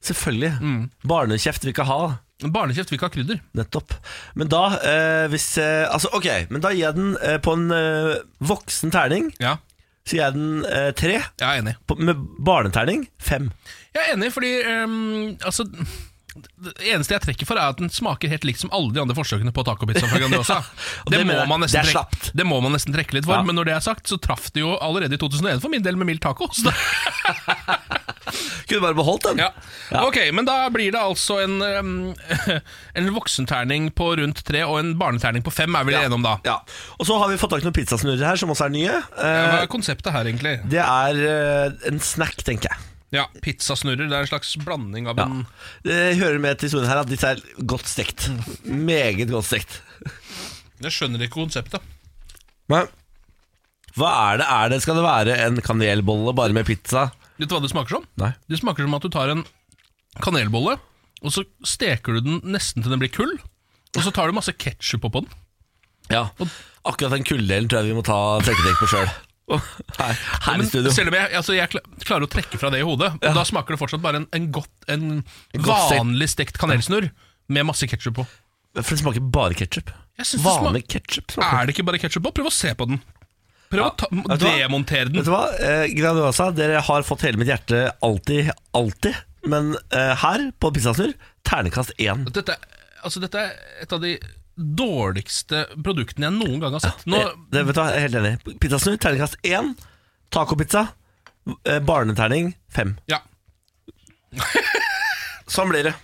Selvfølgelig. Mm. Barnekjeft vil ikke ha. Barnekjeft vil ikke ha krydder. Nettopp. Men da eh, hvis eh, Altså, ok, men da gir jeg den eh, på en eh, voksen terning. Ja, Så gir jeg den eh, tre. jeg er enig. På, med barneterning fem. Jeg er enig fordi ehm, altså, Det eneste jeg trekker for, er at den smaker helt likt som alle de andre forsøkene på tacopizza fra Grandiosa. og det, det mener jeg. må man Det nesten er trekke- slapt. det må man nesten trekke litt for, Ja. men når det er sagt, så traff det jo allerede i 2001 for min del med mild taco. Så da Kunne bare beholdt den. Ja. Ok, men da blir det altså en, um, en voksenterning på rundt tre og en barneterning på fem, er vi enige om da? Ja. Og så har vi fått tak i noen pizzasnurrer her, som også er nye. Eh, Hva er konseptet her, egentlig? Det er eh, en snack, tenker jeg. Ja, Pizzasnurrer. Det er en slags blanding av Ja. en Det hører med til historien her at disse er godt stekt. Meget godt stekt. Jeg skjønner ikke konseptet. Men hva er det? er det? Skal det være en kanelbolle bare med pizza? Vet du hva det smaker som? Nei. Det smaker som at du tar en kanelbolle, og så steker du den nesten til den blir kull. Og så tar du masse ketsjup oppå den. Ja. Akkurat den kulddelen tror jeg vi må ta trekketek på sjøl. Her, her Men i studio. selv om jeg, altså jeg kla- klarer å trekke fra det i hodet, og da smaker det fortsatt bare en, en, godt, en godt stekt- vanlig stekt kanelsnurr med masse ketsjup på. For det smaker bare ketsjup. Jeg synes det smaker- Vanlig ketsjup. Er det ikke bare ketsjup på? Prøv å se på den. Prøv å ta, vet du hva? demontere den. Vet du hva? Eh, Grandiosa, dere har fått hele mitt hjerte alltid, alltid. Men eh, her, på pizzasnurr, ternekast én. Dette, altså, dette er et av de dårligste produktene jeg noen gang har sett. Nå, Eh, det, vet du hva, jeg er helt enig. Pizzasnurr, terningkast én. Tacopizza, eh, barneterning fem. ja. Sånn blir det.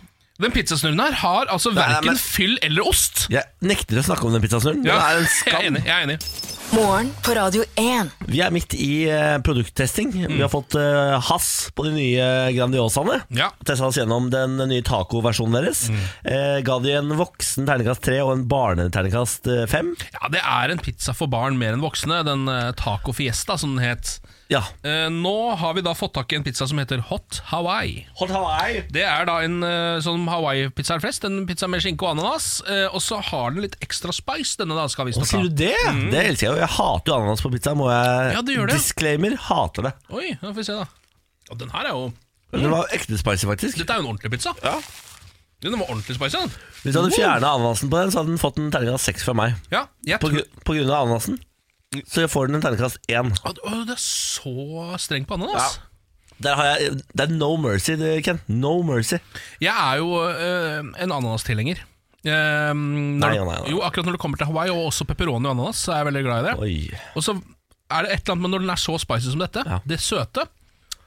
Den pizzasnurren her har altså verken men- fyll eller ost. Jeg nekter å snakke om den pizzasnurren. Den Ja, er en jeg er skam. enig. Jeg er enig. Morgen på Radio 1. Vi er midt i eh, produkttesting. Mm. Vi har fått eh, hass på de nye Grandiosaene. Ja. Mm. Testa oss gjennom den nye tacoversjonen deres. Eh, ga de en voksen terningkast tre og en barneterningkast eh, fem. Ja, det er en pizza for barn mer enn voksne. Den eh, Taco Fiesta, som den het. Ja. Eh, nå har vi da fått tak i en pizza som heter Hot Hawaii. Hot Hawaii. Det er da en eh, sånn Hawaii-pizza er flest. En pizza med skinke og ananas. eh, og så har den litt ekstra spice, denne da, skal visstnok ha. Sier du det? Mm. Det elsker jeg jo. Jeg hater jo ananas på pizza. Må jeg Ja, du gjør det. Disclaimer hater det. Oi, da får vi se da Ja, den her er jo Men Den var ekte spicy, faktisk. Dette er jo en ordentlig pizza Ja. Den var ordentlig spicy. den. Hvis du hadde fjernet ananasen på den, så hadde den fått en terningkast seks fra meg. Ja, jeg På, tror gru- på grunn av ananasen så får den en terningkast én. Å, å, Det er så streng på ananas. Der har jeg, det er no mercy, det, Ken. No mercy. Jeg er jo øh, en ananas-tilhenger. Eh, når- nei, nei. Jo, akkurat når det kommer til Hawaii, og også pepperoni og ananas, så er jeg veldig glad i det. Oi. Og så er det et eller annet med når den er så spicy som dette, Ja. det søte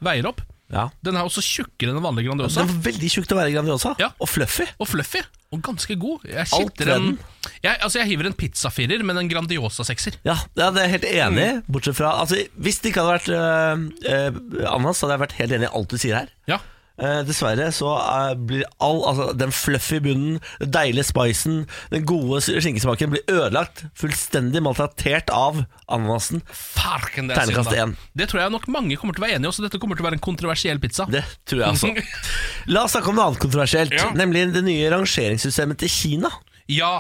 veier opp. Ja. Den er også tjukkere enn den vanlige Grandiosa. Den var veldig tjukk til å være Grandiosa. Ja. Og fluffy. Og fluffy, og ganske god. Jeg Alt sitter ved en, den. jeg, altså jeg hiver en pizzafirer, men en Grandiosa-sekser. Ja, ja, det er jeg helt enig Mm. i. Bortsett fra altså, Hvis det ikke hadde vært øh, øh, ananas, så hadde jeg vært helt enig i alt du sier her. Ja. Eh, dessverre så eh, blir all altså, den fluffy bunnen, den deilige spicen, den gode s- skinkesmaken blir ødelagt. Fullstendig maltraktert av ananasen. Farken, det er Terningkast synd, da. én. Det tror jeg nok mange kommer til å være enige i, så dette kommer til å være en kontroversiell pizza. Det tror jeg altså. La oss snakke om noe annet kontroversielt, Ja. nemlig det nye rangeringssystemet til Kina. Ja.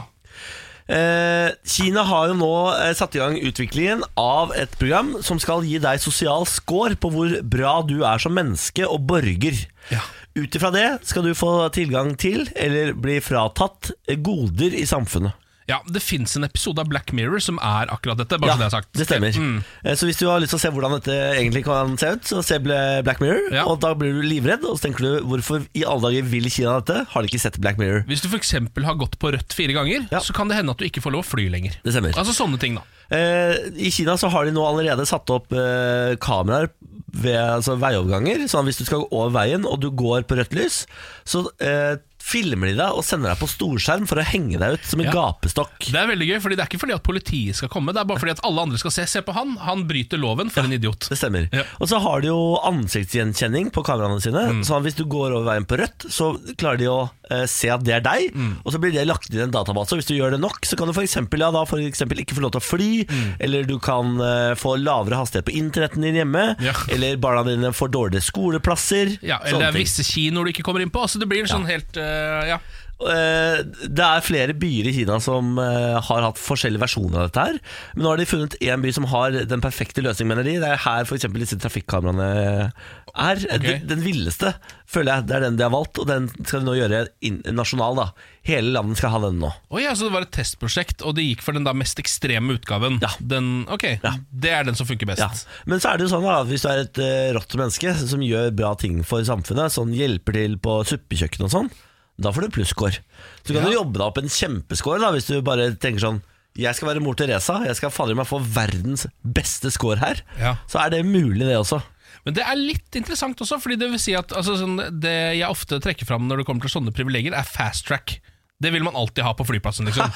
Eh, Kina har jo nå eh, satt i gang utviklingen av et program som skal gi deg sosial score på hvor bra du er som menneske og borger. Ja. Ut ifra det skal du få tilgang til, eller bli fratatt, eh, goder i samfunnet. ja. Det fins en episode av Black Mirror som er akkurat dette, bare så det er sagt. Mm. det stemmer. Eh, Så hvis du har lyst til å se hvordan dette egentlig kan se ut, så se Bla- Black Mirror. Ja. Og da blir du livredd, og så tenker du hvorfor i alle dager vil Kina dette? Har de ikke sett Black Mirror? Hvis du f.eks. har gått på rødt fire ganger, Ja. så kan det hende at du ikke får lov å fly lenger. Det stemmer. Altså sånne ting, da. Eh, I Kina så har de nå allerede satt opp eh, kameraer ved altså, veioverganger. Sånn at hvis du skal gå over veien og du går på rødt lys, så eh, filmer de deg og sender deg på storskjerm for å henge deg ut som en Ja. gapestokk. Det er veldig gøy, fordi det er ikke fordi at politiet skal komme, det er bare fordi at alle andre skal se. Se på han, han bryter loven, for en idiot. Det stemmer. Ja. Mm. Og så har de jo ansiktsgjenkjenning på kameraene sine. Så hvis du går over veien på rødt, så klarer de å eh, se at det er deg. Mm. Og så blir det lagt inn i en database. Og hvis du gjør det nok, så kan du f.eks. Ja, da for eksempel ikke få lov til å fly, Mm. eller du kan eh, få lavere hastighet på internetten din hjemme, Ja. eller barna dine får dårligere skoleplasser. Ja, sånne eller det er ting. visse kinoer du ikke kommer inn på. Altså Det blir sånn helt eh, Ja. Eh, Det er flere byer i Kina som eh, har hatt forskjellige versjoner av dette her. Men nå har de funnet én by som har den perfekte løsningen, mener de. Det er her f.eks. disse trafikkameraene er. Den, den villeste, føler jeg. Det er den de har valgt, og den skal de nå gjøre inn- nasjonal. da Hele landet skal ha den nå. Å ja, så det var et testprosjekt, og det gikk for den da mest ekstreme utgaven. Ja. Den, ok, Det er den som funker best. Ja. Men så er det jo sånn da at hvis du er et eh, rått menneske som gjør bra ting for samfunnet, sånn hjelper til på suppekjøkken og sånn, da får du plusskår. Så kan du jobbe deg opp en kjempeskår da, hvis du bare tenker sånn jeg skal være mor Teresa, jeg skal fader meg få verdens beste score her. Ja. Så er det mulig, det også. Men det er litt interessant også, fordi det vil si at altså, sånn, det jeg ofte trekker fram når det kommer til sånne privilegier, er fast track. Det vil man alltid ha på flyplassen, liksom.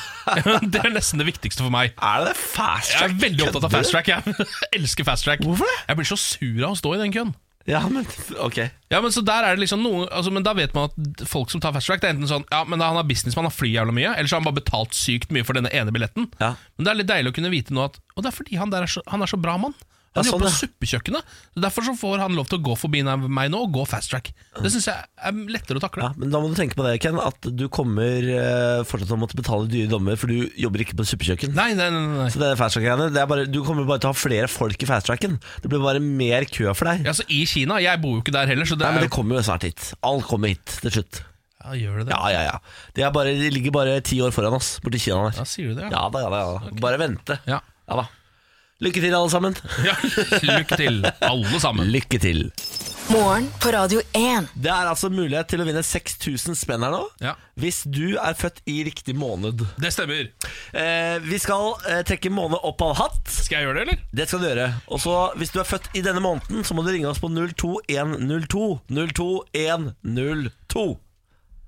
det er nesten det viktigste for meg. Er det fast Jeg er veldig opptatt av fast track. Jeg elsker fast track. Hvorfor det? Jeg blir så sur av å stå i den køen. Ja, men ok. Ja, Men så der er det liksom noe altså, Men da vet man at folk som tar fast track, det er enten sånn Ja, men han er businessman, han flyr jævla mye, eller så har han bare betalt sykt mye for denne ene billetten. Ja. Men det er litt deilig å kunne vite nå at Og det er fordi han der er så, han er så bra mann. Ja, Han sånn, jobber på ja. suppekjøkkenet. Så Derfor så får han lov til å gå forbi meg nå og gå fast track. Det syns jeg er lettere å takle. Ja, men da må du tenke på det, Ken, at du kommer eh, fortsatt til å måtte betale dyre dommer, for du jobber ikke på suppekjøkken. Nei, nei, nei, nei. Så det er fast track-greiene det er bare, Du kommer bare til å ha flere folk i fast tracken. Det blir bare mer kø for deg. Ja, så I Kina Jeg bor jo ikke der heller, så det Nei, er men jo det kommer jo snart hit. Alt kommer hit til slutt. Ja, gjør det det? Ja, ja, ja. De, er bare, de ligger bare ti år foran oss borti Kina Ja, der. sier du det? Ja da, ja da. ja da Bare vente. Ja. Ja da. Lykke til, alle sammen. ja. Lykke til, alle sammen. Lykke til. Morgen på Radio 1. Det er altså mulighet til å vinne 6000 spenn her nå. Ja. Hvis du er født i riktig måned. Det stemmer. Eh, vi skal eh, trekke en måned opp av en hatt. Skal jeg gjøre det, eller? Det skal du gjøre. Og så Hvis du er født i denne måneden, så må du ringe oss på 02102. 02102.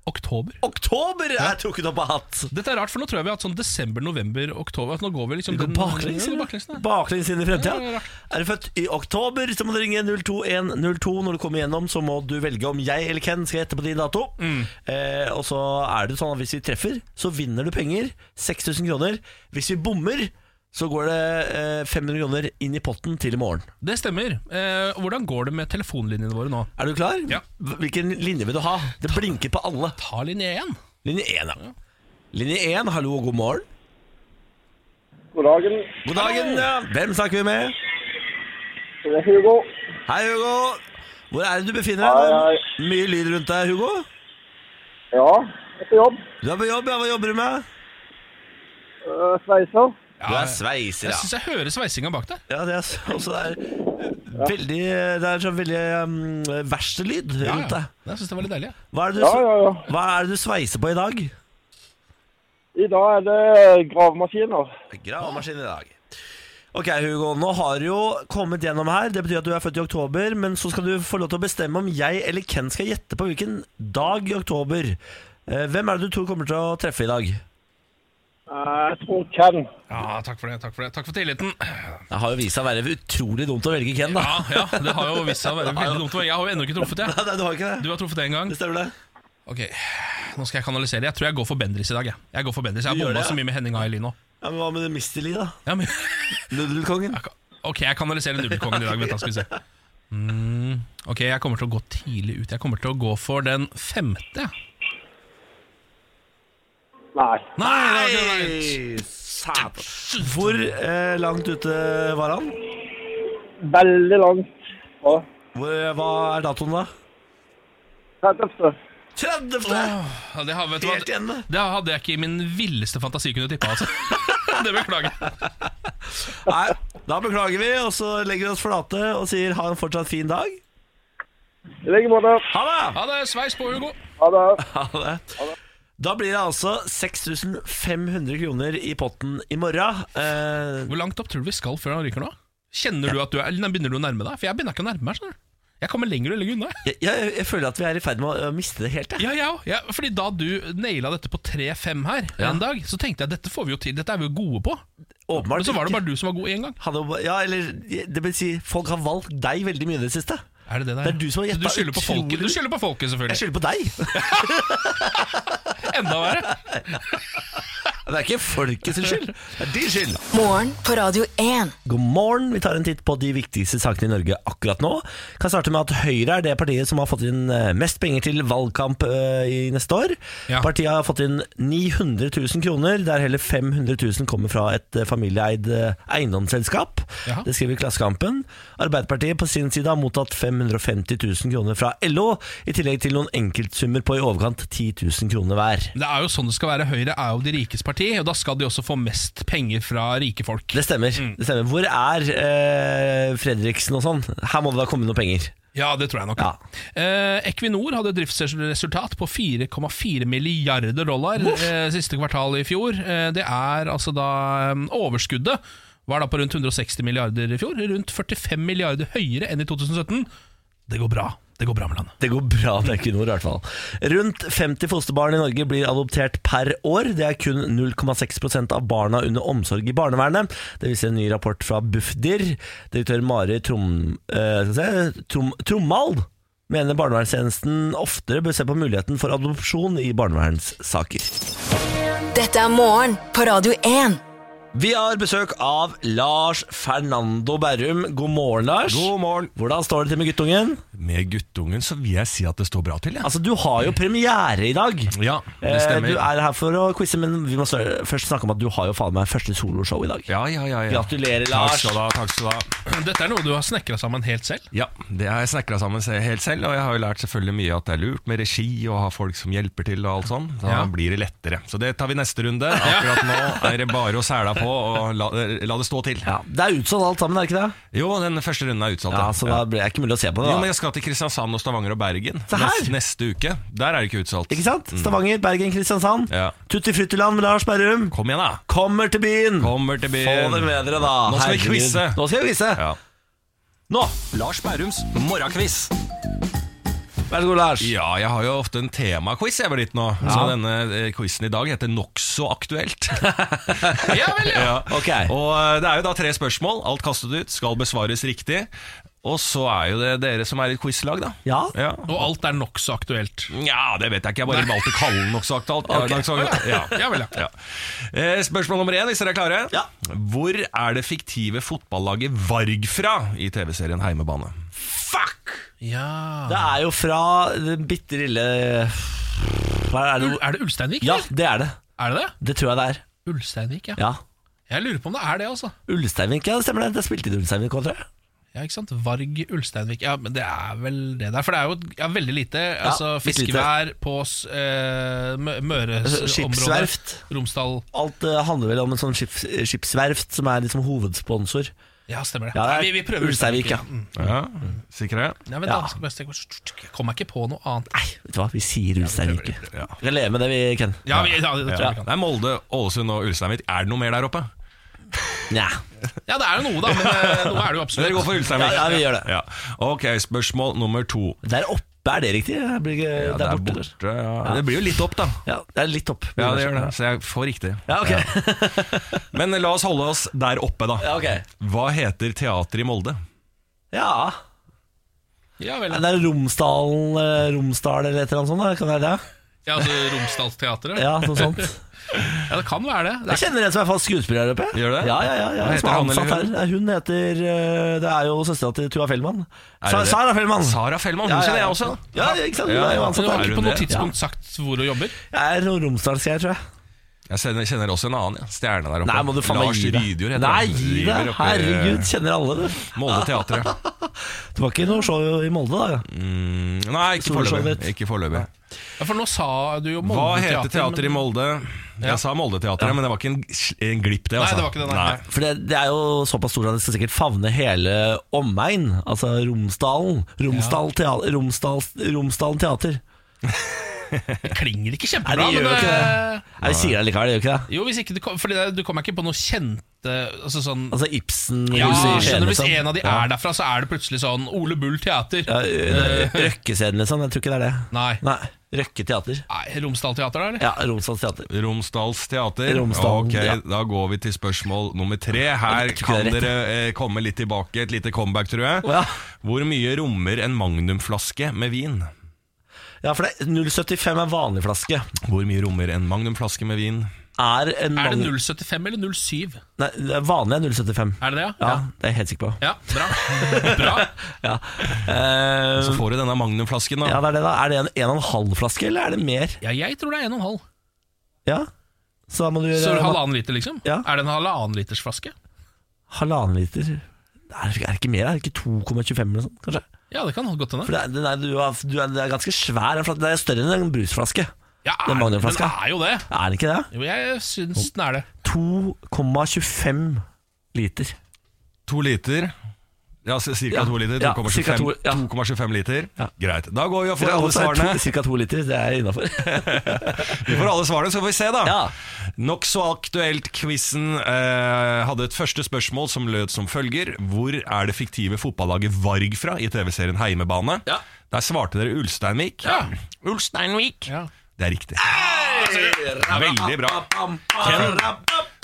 Oktober. Oktober er trukket opp av hatt! Dette er rart, for nå tror jeg vi har hatt sånn desember, november, oktober. At nå går vi liksom Du går den- baklengs, Ja, eller? baklengs, da. baklengs inn i fremtida. Ja, det er rart. Er du født i oktober, så må du ringe 02102. Når du kommer gjennom, så må du velge om jeg eller Ken skal gjette på din dato. Mm. Eh, og så er det sånn at hvis vi treffer, så vinner du penger. 6000 kroner. Hvis vi bommer, så går det eh, 500 kroner inn i potten til i morgen. Det stemmer. Eh, hvordan går det med telefonlinjene våre nå? Er du klar? Ja. Hvilken linje vil du ha? Det blinker på alle. Ta linje én. Linje 1, ja. Linje 1, hallo og god morgen. God dagen. God dagen. Ja. Hvem snakker vi med? Det er Hugo. Hei, Hugo. Hvor er det du befinner Hei, deg? nå? Mye lyd rundt deg, Hugo. Ja, på jobb. Du er på jobb, ja. Hva jobber du med? Øh, Sveiser. Du er sveiser, Jeg ja. syns jeg hører sveisinga bak deg. Ja, det er så- også der. Veldig, det er sånn veldig um, verkstedlyd Ja, rundt ja. deg. Jeg syns det var litt deilig. Ja. Hva er, det du, Ja, ja, ja. hva er det du sveiser på i dag? I dag er det gravemaskiner. Gravemaskin i dag. Ok, Hugo. Nå har du jo kommet gjennom her. Det betyr at du er født i oktober. Men så skal du få lov til å bestemme om jeg eller Ken skal gjette på hvilken dag i oktober. Eh, Hvem er det du tror kommer til å treffe i dag? Eh, Jeg tror Ken. Ja, takk for det. Takk for det Takk for tilliten. Det har jo vist seg å være utrolig dumt å velge Ken, da. Ja, ja, det har jo vist seg å være veldig dumt. Jeg har jo ennå ikke truffet, jeg. Nei, du har ikke det. Du har truffet det en gang. Det stemmer, det. Ok, Nå skal jeg kanalisere. Jeg tror jeg går for Bendris i dag. Jeg, jeg går for Bendris Jeg har Du gjør bomba det, ja? så mye med Henning Aili nå. Ja, men Hva med det Mr. Lee, da? Ja, men, Nudelkongen? ok, jeg kanaliserer nudelkongen i dag. Vent, da skal vi se. Mm, ok, jeg kommer til å gå tidlig ut. Jeg kommer til å gå for den femte. Nei. Nei! det var ikke Nei! det. Satan. Hvor eh, langt ute var han? Veldig langt. Ja. Hvor, eh, hva er datoen, da? Hva er det? 30. Ja, det, har, vet du hva, Helt igjen, det. det hadde jeg ikke i min villeste fantasi kunne tippa, altså. Det beklager jeg. Nei, da beklager vi, og så legger vi oss flate og sier ha en fortsatt fin dag. I like måte. Ha det! Ha det. Sveis på, Hugo. Ha det. Ha det. Da blir det altså 6500 kroner i potten i morgen. Eh, Hvor langt opp tror du vi skal før han ryker nå? Kjenner du at du er, eller Begynner du å nærme deg? For jeg begynner ikke å nærme meg. skjønner du. Jeg kommer lenger og lenger unna. jeg, jeg, jeg føler at vi er i ferd med å- å miste det helt. Jeg. Ja, jeg òg. Ja, fordi da du naila dette på 3-5 her Ja. en dag, så tenkte jeg dette får vi jo til, dette er vi jo gode på. Åpenbart. Men så var det bare du som var god én gang. Han er jo- ja, eller det vil si, folk har valgt deg veldig mye i det siste. Er det det der? Det er du som har Så gjettet Du skylder på utrolig- folket, du skylder på folket Jeg selvfølgelig. skylder på deg. Enda verre. Det er ikke folket sin skyld. Det er din skyld. Morgen på Radio 1. God morgen. Vi tar en titt på de viktigste sakene i Norge akkurat nå. Kan starte med at Høyre er det partiet som har fått inn eh, mest penger til valgkamp eh, i neste år. Ja. Partiet har fått inn 900 000 kroner, der hele 500 000 kommer fra et eh, familieeid eh, eiendomsselskap. Ja. Det skriver Klassekampen. Arbeiderpartiet på sin side har mottatt 550 000 kroner fra LO, i tillegg til noen enkeltsummer på i overkant 10 000 kroner hver. Det er jo sånn det skal være. Høyre er jo de rikes parti, og da skal de også få mest penger fra rike folk. Det stemmer. Mm. det stemmer. Hvor er eh, Fredriksen og sånn? Her må det da komme noen penger. Ja, det tror jeg nok. Ja. Eh, Equinor hadde et driftsresultat på 4,4 milliarder dollar eh, siste kvartal i fjor. Eh, det er altså da eh, Overskuddet var da på rundt 160 milliarder i fjor. Rundt 45 milliarder høyere enn i 2017. Det går bra. Det går bra med landet. Det går bra med Equinor, i hvert fall. Rundt 50 fosterbarn i Norge blir adoptert per år. Det er kun 0,6 av barna under omsorg i barnevernet. Det viser en ny rapport fra Bufdir. Direktør Mari Trom, eh, skal vi se, Trom, Trommald mener barnevernstjenesten oftere bør se på muligheten for adopsjon i barnevernssaker. Dette er morgen på Radio 1. Vi har besøk av Lars Fernando Berrum. God morgen, Lars. God morgen. Hvordan står det til med guttungen? Med guttungen så vil jeg si at det står bra til, jeg. Altså, Du har jo premiere i dag. Ja, det Eh, stemmer. Du er her for å quize, men vi må snar- først snakke om at du har jo faen meg første soloshow i dag. Ja, ja, ja, ja. Gratulerer, Takk Lars. skal du ha. takk skal du ha Dette er noe du har snekra sammen helt selv. Ja, Det har jeg snekra sammen se- helt selv, og jeg har jo lært selvfølgelig mye at det er lurt med regi og ha folk som hjelper til og alt sånn. Da Ja. blir det lettere. Så det tar vi neste runde. Akkurat nå er det bare å sæla på og la, eh, la det stå til. Ja, det er utsolgt alt sammen, er det ikke det? Jo, den første runden er utsatt. Ja, ja. Så da blir det ikke mulig å se på det. Jo, men da jeg skal til Kristiansand og Stavanger og Bergen Se her! neste, neste uke. Der er det ikke utsolgt. Ikke sant? Stavanger, Bergen, Kristiansand. Mm. Ja. Tutti Fruttiland med Lars Berrum. Kom igjen, da! Kommer til byen! Kommer til byen. Få det med dere, da. Nå Ah, skal vi Herregud. quize. Nå skal vi quize. Ja. Nå! Lars Bærums morgenquiz. Vær så god, Lars. Ja, jeg har jo ofte en temaquiz jeg var litt nå. Så denne eh, quizen i dag heter Nokså aktuelt. ja vel, ja. Ok. Og eh, det er jo da tre spørsmål. Alt kastet ut, skal besvares riktig. Og så er jo det dere som er i et quizlag, da. Ja. Ja. Og alt er nokså aktuelt. Nja, det vet jeg ikke. Jeg bare valgte å kalle den nokså aktuelt. Ok. nokså aktuelt. Ja. Ja vel, ja. Ja. Eh, Spørsmål nummer én, hvis dere er klare. Ja. Hvor er det fiktive fotballaget Varg fra i TV-serien Heimebane? Fuck! Ja Det er jo fra den bitte lille Hva er det? Er det Ulsteinvik? Ja, eller? det er det. Er det det? Det tror jeg det er. Ulsteinvik, ja. Ja. Jeg lurer på om det er det, altså. Ulsteinvik, ja, det stemmer det. Det spilte i Ulsteinvik òg, tror jeg. Ja, ikke sant? Varg Ulsteinvik. Ja, men det er vel det der. For det er jo ja, veldig lite. altså litt lite. Fiskevær på s- eh, Mø- Møres Skipsverft. område. Romsdal. Alt eh, handler vel om en sånn skips, skipsverft som er liksom hovedsponsor. Ja, stemmer det. Ja, det er Nei, vi, vi prøver Ulsteinvik, ja. Mm. Ja, Sikre? Nei, men Ja. da skal jeg bare- Jeg kommer ikke på noe annet. Nei, Vet du hva, vi sier Ulsteinvik. Ja. Vi kan leve med det vi kan. ja, vi, ja, det tror jeg vi kan. Det er Molde, Ålesund og Ulsteinvik. Er det noe mer der oppe? Nja. Ja, det er jo noe, da. Men eh, noe er det jo Dere går absolutt. for Ulsteinvik? Ja, ja, vi gjør det. Ja. Ok, spørsmål nummer to. Der oppe, er det riktig? Jeg blir ikke- Ja, det er borte. eller? ja. Det blir jo litt opp, da. Ja, det er litt opp. Ja, det gjør det. Så jeg får riktig. Ja, ok. Men la oss holde oss der oppe, da. Ja, ok. Hva heter teateret i Molde? Ja. Ja, vel. Det er Romsdalen eh, Romsdal eller et eller annet sånt? Da. Kan det være det? Ja, altså Romsdalsteatret. Ja, noe sånt. Ja, det kan være det. Jeg det er, kjenner en som er fast skuespiller her oppe. Gjør du det? Ja, ja, ja, ja. Hva som er heter han eller ansatt her. hun? Nei, Hun heter eh, Det er jo søstera til Tua Fellmann. det Sa det? Sara Fellmann. Sara Fellmann, Ja, hun ja, kjenner ja. jeg også. Ja, ikke sant? Hun Ja, er jo så du ja. ansatt har Er her. ikke hun på noe det? tidspunkt sagt hvor du jobber? Jeg er romsdalsk her, tror jeg. Jeg kjenner, kjenner også en annen ja. stjerne der oppe. Nei, må du faen meg Lars gi deg. Rydjord heter Nei, han. gi Driver deg. oppe i eh, Herregud, kjenner alle det. Molde teatret. Det var ikke noe show i Molde, da. ja. Mm, nei, ikke Solskjønnet. foreløpig. Ikke foreløpig. Ja, For nå sa du jo Hva Molde heter teater i men- Molde? Ja. Jeg sa Moldeteatret, men det var ikke en, en glipp, det. Nei, Altså. det var ikke det. Nei. For det, det er jo såpass stort at det skal sikkert favne hele omegn. Altså Romsdalen. Romsdal teater, Romsdal, Romsdalen teater. Det klinger ikke Nei, kjempebra. det gjør jo men, ikke det. eh, Nei, vi sier det likevel, det gjør ikke det? Jo, hvis ikke du kom, fordi det, du kommer ikke på noe kjente altså sånn, Altså Ibsen ja, huset i Skien, skjønner du, Hvis liksom. en av de er derfra, så er det plutselig sånn Ole Bull Teater. Ja, ø- ø- Røkkescenen, liksom. Jeg tror ikke det er det. Nei. Nei. Røkke teater. Nei, Romsdal Teater, da, eller? Ja, Romsdals teater. Romsdals teater. Romsdalen, ok, ja. Da går vi til spørsmål nummer tre. Her det tror kan jeg er rett. dere eh, komme litt tilbake. Et lite comeback, tror jeg. Å, ja. Hvor mye rommer en magnumflaske med vin? Ja, for det 075 er vanlig flaske. Hvor mye rommer en magnumflaske med vin? Er, en Er det vanlig- 075 eller 07? Nei, det er vanlig er 075. Er det det, Ja, ja? det er jeg helt sikker på. Ja, bra. bra. Ja, Eh, Så får du denne magnumflasken, ja det da. er det, da. Er det en en og en halv flaske, eller er det mer? Ja, jeg tror det er 1,5. Ja. Så da må du gjøre Så halvannen liter, liksom? Ja. Er det en halvannen liters flaske? halvannen liter. Er det er det ikke mer? Er det ikke 2,25 eller noe sånt, kanskje? Ja, det kan godt hende. For det er, den er, du har, du er, det er ganske svær. den flas- Det er større enn en brusflaske. Ja, Den er, den magnumflaska. er jo det. Er det ikke det? Jo, jeg syns den er det. 2,25 liter. To liter. Ja, så cirka Ja, to liter. ja, 2,25 cirka to- ja. 2,25 liter. Ja. Greit. Da går vi og får Cirka alle svarene. Ca. Altså, to liter, det er innafor. Vi får alle svarene, så får vi se, da. Ja. Nokså aktuelt-quizen eh, hadde et første spørsmål som lød som følger. Hvor er det fiktive fotballaget Varg fra i TV-serien Heimebane? Ja. Der svarte dere Ulsteinvik. Ja. Ulsteinvik. Ja. Det er riktig. Veldig bra.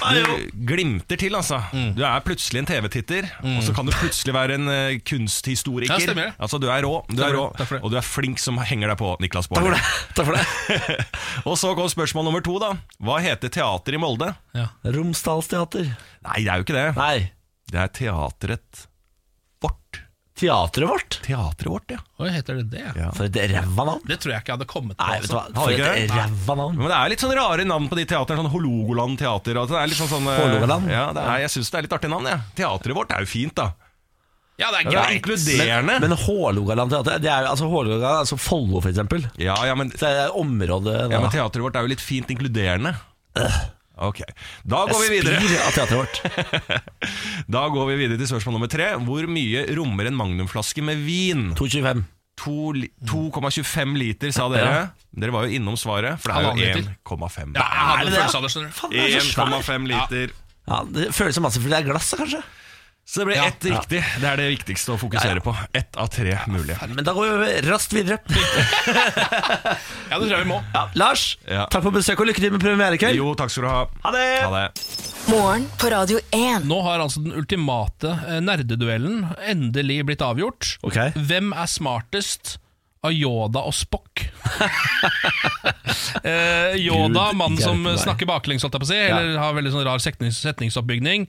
Du glimter til, altså. Mm. Du er plutselig en TV-titter, og så kan du plutselig være en eh, kunsthistoriker. Ja, stemmer det. Altså, du er rå, du er for det, rå takk for det. og du er flink som henger deg på, Niklas Baarli. Takk for det. Takk for det. og så kom spørsmål nummer to, da. Hva heter teater i Molde? Romsdalsteater. Nei, det er jo ikke det. Nei, Det er teatret vårt. teatret vårt. Teatret vårt, ja. Hva heter det det? For et ræva navn. Det tror jeg ikke jeg hadde kommet på. Nei, vet du hva. altså. For ikke det? et ræva navn. Men det er litt sånn rare navn på de teaterne. Sånn Hålogaland teater. Og det er litt sånn, sånn eh, Hålogaland? Ja, det er, jeg syns det er litt artig navn, jeg. Teatret vårt er jo fint, da. Ja, det er Det er greit. inkluderende. Men Hålogaland teater, det er jo altså Hålogaland, altså Follo for eksempel. ja, ja, men, Så er det området ja, men teatret vårt er jo litt fint inkluderende. Ok, Da går vi Øh. Jeg videre spyr av teatret vårt. Da går vi videre til spørsmål nummer tre. Hvor mye rommer en magnumflaske med vin? 225. To li- 2,25 liter, sa dere. Dere var jo innom svaret, for det er Halvannen jo liter. 1,5. Ja, jeg det hadde en det? følelse av det, skjønner du. Faen, det er så svært. 1,5 liter. Ja, det føles som masse, for det er glass, kanskje. Så det ble Ja. ett riktig. Det er det viktigste å fokusere på. Ett av tre mulige. Men da går vi raskt videre. Ja, det tror jeg vi må. Ja, Lars, Ja. takk for besøket og lykke til med premiere i kveld. Jo, takk skal du ha. Ha det! Ha det. Morgen på Radio 1. Nå har altså den ultimate eh, nerdeduellen endelig blitt avgjort. Ok. Hvem er smartest av Yoda og Spock? eh, Yoda, Gud, mannen som hjelpe meg. snakker baklengs, holdt jeg på å si, eller har veldig sånn rar setnings setningsoppbygning.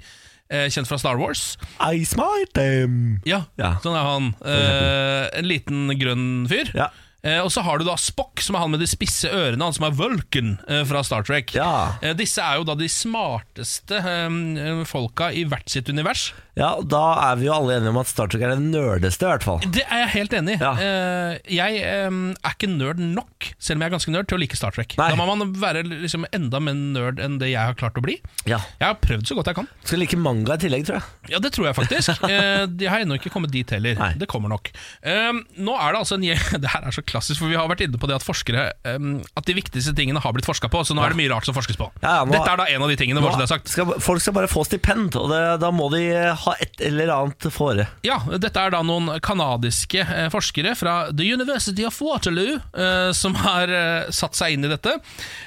Eh, kjent fra Star Wars. I smite them. Ja, Ja. sånn er han. Eh, en liten grønn fyr. Ja. Eh, Eh, og så har du da Spock, som er han med de spisse ørene, han som er Vulcan eh, fra Star Trek. Ja. Eh, disse er jo da de smarteste eh, folka i hvert sitt univers. Ja, og Da er vi jo alle enige om at Star Trek er det nerdeste, i hvert fall. Det er jeg helt enig i. Ja. Eh, jeg eh, er ikke nerd nok, selv om jeg er ganske nerd, til å like Star Trek. Nei. Da må man være liksom enda mer nerd enn det jeg har klart å bli. Ja. Jeg har prøvd så godt jeg kan. Skal like manga i tillegg, tror jeg. Ja, det tror jeg faktisk. Eh, de har ennå ikke kommet dit heller. Nei. Det kommer nok. Eh, nå er det altså en gjeng Det her er så klassisk, for vi har vært inne på det at forskere eh, At de viktigste tingene har blitt forska på, så nå er det mye rart som forskes på. Ja, ja, nå- Dette er da en av de tingene, bare så det er sagt. Skal, folk skal bare få stipend, og det, da må de eh, ha et eller annet fore. Ja, dette er da noen kanadiske eh, forskere fra The University of Waterloo eh, som har eh, satt seg inn i dette.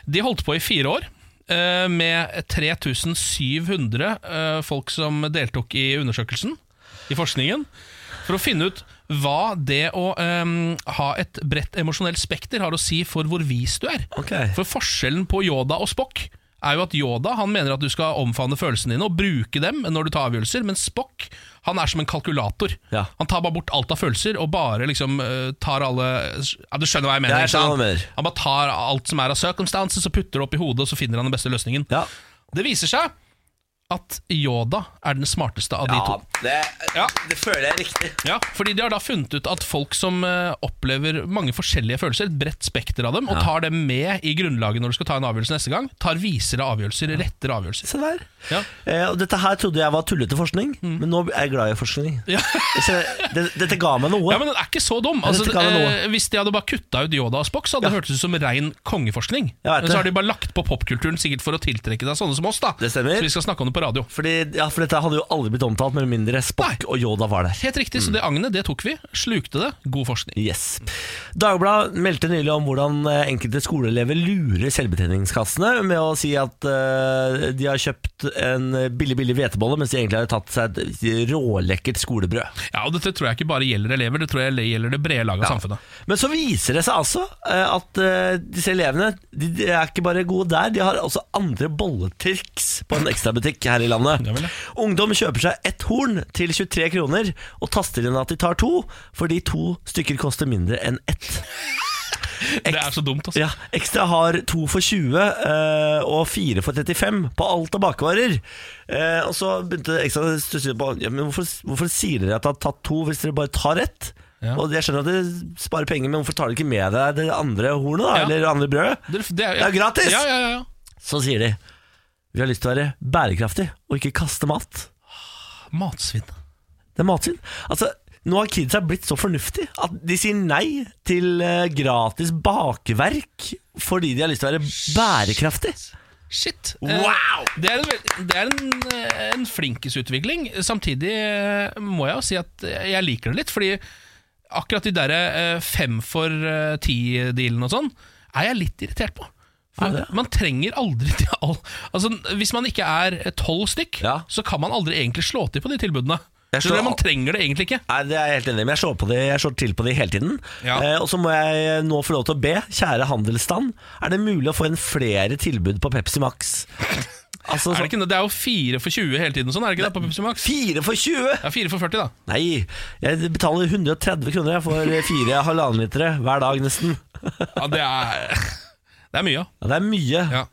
De holdt på i fire år. eh, Med 3700 eh, folk som deltok i undersøkelsen, i forskningen, for å finne ut hva det å eh, ha et bredt emosjonelt spekter har å si for hvor vis du er. Ok. For forskjellen på Yoda og Spock er jo at Yoda han mener at du skal omfavne følelsene dine og bruke dem når du tar avgjørelser, men Spock han er som en kalkulator. Ja. Han tar bare bort alt av følelser og bare liksom eh, tar alle ja, Du skjønner hva jeg mener? Jeg ikke sant? skjønner hva du sånn mener. Han bare tar alt som er av circumstances og putter det opp i hodet, og så finner han den beste løsningen. Ja. Det viser seg at Yoda er den smarteste av de to. det, Ja. det føler jeg er riktig. Ja, fordi De har da funnet ut at folk som eh, opplever mange forskjellige følelser, et bredt spekter av dem, og tar dem med i grunnlaget når du skal ta en avgjørelse neste gang, tar visere avgjørelser, rettere avgjørelser. Se der. Ja. Eh, og dette her trodde jeg var tullete forskning, men nå er jeg glad i forskning. Så det, dette ga meg noe. Ja, men Den er ikke så dum. Ja, Altså, dette kan jeg nå. eh, hvis de hadde bare kutta ut Yoda og Spock, så hadde det hørtes ut som rein kongeforskning. Jeg vet Men det. så har de bare lagt på popkulturen, sikkert for å tiltrekke seg sånne som oss. da Det stemmer. Så vi skal snakke om det på radio. Fordi, ja, for dette hadde jo aldri blitt omtalt med mindre Spock og Yoda var der. Helt riktig, så det agnet det tok vi. Slukte det. God forskning. Yes. Dagbladet meldte nylig om hvordan eh, enkelte skoleelever lurer selvbetjeningskassene med å si at eh, de har kjøpt en billig billig hvetebolle, mens de egentlig har tatt seg et rålekkert skolebrød. Ja, og Dette tror jeg ikke bare gjelder elever, det tror jeg gjelder det brede laget av samfunnet. Men så viser det seg altså eh, at eh, disse elevene de, de er ikke bare gode der, de har også andre bolletriks på en ekstrabutikk her i landet. Ja vel, ja. Ungdom kjøper seg ett horn til 23 kroner og taster inn at de tar to, fordi to stykker koster mindre enn ett. Det er så dumt, altså. Ja, Ekstra har to for 20 eh, og fire for 35 på alt av bakvarer. Eh, og så begynte Ekstra å stusse litt på ja, men hvorfor, hvorfor sier dere at dere har tatt to hvis dere bare tar ett? Ja. Og Jeg skjønner at dere sparer penger, men hvorfor tar dere ikke med deg det andre hornet? da, Ja. Eller det andre brødet? Det, det, er, Det er gratis! Ja, ja, ja, ja. Så sier de vi har lyst til å være bærekraftig og ikke kaste mat. Matsvinn. Det er matsvinn. Altså, nå har kidsa blitt så fornuftig at de sier nei til eh, gratis bakverk fordi de har lyst til å være bærekraftig. Shit. Eh, Wow! Det er en, vel- det er en, eh, en flinkisutvikling. Samtidig eh, må jeg jo si at eh, jeg liker det litt, fordi akkurat de derre eh, fem for eh, ti-dealene og sånn, er jeg litt irritert på. Er For det? man trenger aldri til all Altså Hvis man ikke er tolv stykk, Ja. så kan man aldri egentlig slå til på de tilbudene. Jeg Så slår Man al- trenger det egentlig ikke. Nei, det er jeg helt enig i, men jeg slår, på det, jeg slår til på det hele tiden. Ja. Eh, og så må jeg nå få lov til å be, kjære handelsstand, er det mulig å få inn flere tilbud på Pepsi Max? Altså, Er det, ikke, det er jo fire for 20 hele tiden, sånn er det ikke det på Pepsi sånn, Max? Fire for 20! Det er fire for 40, da. Nei, jeg betaler 130 kroner jeg for fire halvannen litere hver dag nesten. Ja, det er, det er mye, ja. Ja, det er mye. ja.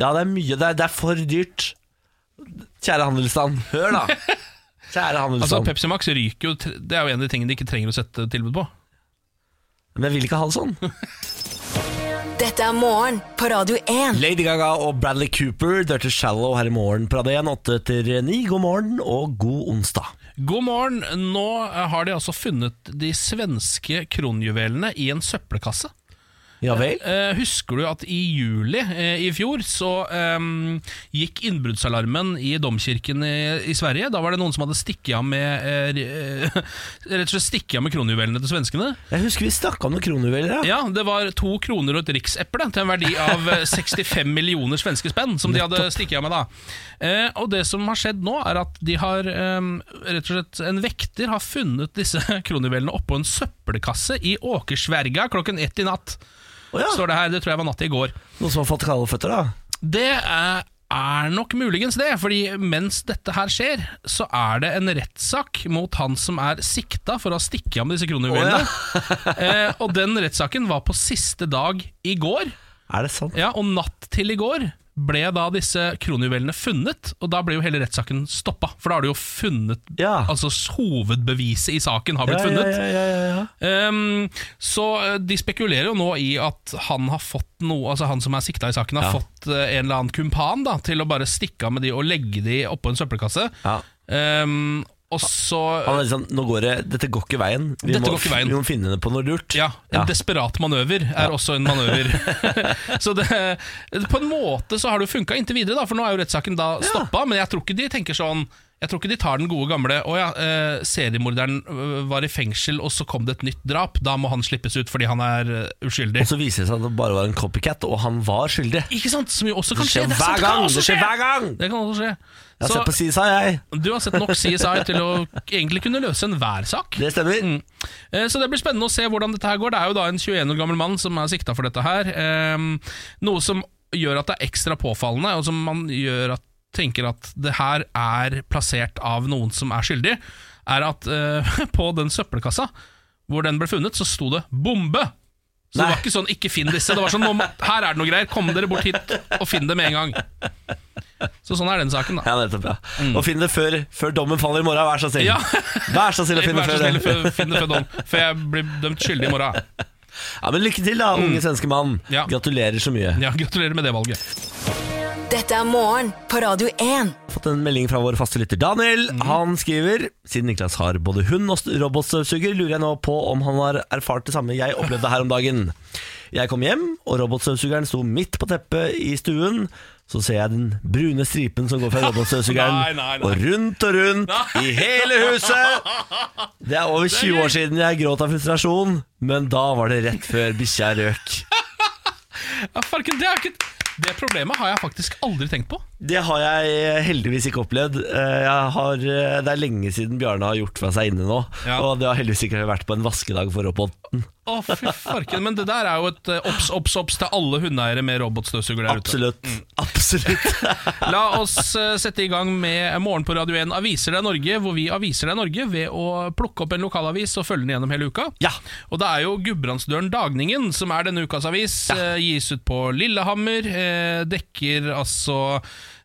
Ja, det er mye. Det er, det er for dyrt. Kjære handelsstand, hør da. Kjære Altså, handelsstand. Pepsi Max ryker jo tre- Det er jo en av de tingene de ikke trenger å sette tilbud på. men jeg vil ikke ha det sånn. Dette er morgen på Radio 1. Lady Gaga og Bradley Cooper, Dirty Shallow her i morgen. Parade 1, 8 etter 9. God morgen og god onsdag. God morgen. Nå eh, har de altså funnet de svenske kronjuvelene i en søppelkasse. Ja vel? Eh, husker du at i juli eh, i fjor så eh, gikk innbruddsalarmen i domkirken i, i Sverige? Da var det noen som hadde stikket av med eh, re- Rett og slett stikket av med kronjuvelene til svenskene. Jeg husker vi snakka om noen kronjuveler. Ja. Ja, det var to kroner og et riksepple til en verdi av eh, 65 millioner svenske spenn, som de hadde stikket av med da. Eh, og det som har skjedd nå, er at de har eh, rett og slett En vekter har funnet disse kronjuvelene oppå en søppelkasse i Åkersverga klokken ett i natt. Å ja. Står det her, det tror jeg var natt i går. Noen som har fått kalde føtter, da. Det er er nok muligens det, fordi mens dette her skjer, så er det en rettssak mot han som er sikta for å ha stikket av med disse kronjuvelene. eh, og den rettssaken var på siste dag i går. Er det sant? Ja, og natt til i går ble da disse kronjuvelene funnet, og da ble jo hele rettssaken stoppa. For da har du jo funnet Ja. Altså hovedbeviset i saken har blitt funnet. Ja, ja, ja, ja. Ehm, så eh, de spekulerer jo nå i at han har fått noe Altså han som er sikta i saken, har Ja. fått eh, en eller annen kumpan da til å bare stikke av med de og legge de oppå en søppelkasse. Ja. Ehm, og så Han er liksom, nå går det, dette går ikke veien. Vi, Dette må, går ikke veien. vi må finne på noe lurt. Ja, en Ja. desperat manøver er også en manøver. så det, på en måte så har det jo funka inntil videre, da, for nå er jo rettssaken da stoppa. Men jeg tror ikke de tenker sånn Jeg tror ikke de tar den gode gamle Å ja, eh, seriemorderen eh, var i fengsel, og så kom det et nytt drap. Da må han slippes ut fordi han er eh, uskyldig. Og så viser det seg at det bare var en copycat, og han var skyldig. Ikke sant? Som jo også kan Det skje. skjer Det er sant, hver det kan gang! også Det skjer skje. hver gang! Det kan også skje. Jeg har Så sett på CSI, jeg. du har sett nok CSI til å egentlig kunne løse enhver sak. Det stemmer. Mm. Eh, Så det blir spennende å se hvordan dette her går. Det er jo da en 21 år gammel mann som er sikta for dette her. Ehm, Noe som gjør at det er ekstra påfallende, og som man gjør at, tenker at det her er plassert av noen som er skyldig, er at eh, på den søppelkassa hvor den ble funnet, så sto det 'bombe'. Nei. Så det var ikke sånn 'ikke finn disse'. Det var sånn nå må- 'her er det noe greier, kom dere bort hit og finn det med en gang'. Så sånn er den saken, da. Ja, nettopp, ja. Og finn det før, før dommen faller i morgen, vær så snill. Mm. Ja. Vær så snill å finne Vær så før snill, det. fø- finn det før dom, for jeg blir dømt skyldig i morgen. Ja, men lykke til, da, unge svenske mann. Mm. Ja. Gratulerer så mye. Ja, gratulerer med det valget. Dette er morgen på Radio 1. fått en melding fra vår faste lytter Daniel. Mhm. Han skriver Siden Niklas har både hund og st- robotstøvsuger, lurer jeg nå på om han har erfart det samme jeg opplevde her om dagen. Jeg kom hjem, og robotstøvsugeren sto midt på teppet i stuen. Så ser jeg den brune stripen som går fra Nei, robotstøvsugeren nei, nei. og rundt og rundt i hele huset. Det er over 20 år siden jeg gråt av frustrasjon, men da var det rett før bikkja røk. Ja, farken, det, er ikke, det problemet har jeg faktisk aldri tenkt på. Det har jeg heldigvis ikke opplevd. Eh, Jeg har, eh, det er lenge siden Bjarne har gjort fra seg inne nå. Ja. Og det har heldigvis ikke vært på en vaskedag for roboten. Å, fy farken, Men det der er jo et eh, obs, obs, obs til alle hundeeiere med robotstøvsuger der ute. Mm. Absolutt. Absolutt. La oss eh, sette i gang med Morgen på Radio 1 Aviser deg Norge, hvor vi aviser deg Norge ved å plukke opp en lokalavis og følge den gjennom hele uka. Ja. Og det er jo Gudbrandsdølen Dagningen som er denne ukas avis. eh, Gis ut på Lillehammer. eh, Dekker altså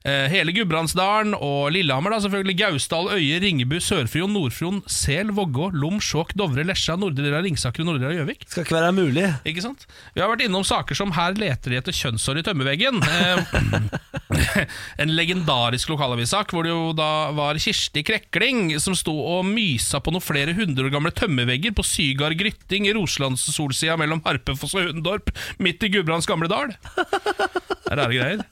eh, hele Gudbrandsdalen og Lillehammer, da selvfølgelig. Gausdal, Øye, Ringebu, Sør-Fron, Nord-Fron, Sel, Vågå, Lom, Skjåk, Dovre, Lesja, Nordre Dela, Ringsaker og Nordre Dela Gjøvik. Skal ikke være mulig. Ikke sant? Vi har vært innom saker som Her leter de etter kjønnshår i tømmerveggen. Eh, en legendarisk lokalavissak hvor det jo da var Kirsti Krekling som sto og mysa på noen flere hundre år gamle tømmervegger på Sygard Grytting i Roslandssolsida mellom Harpefoss og Hundorp, midt i Gudbrands gamle dal. Det er rare greier.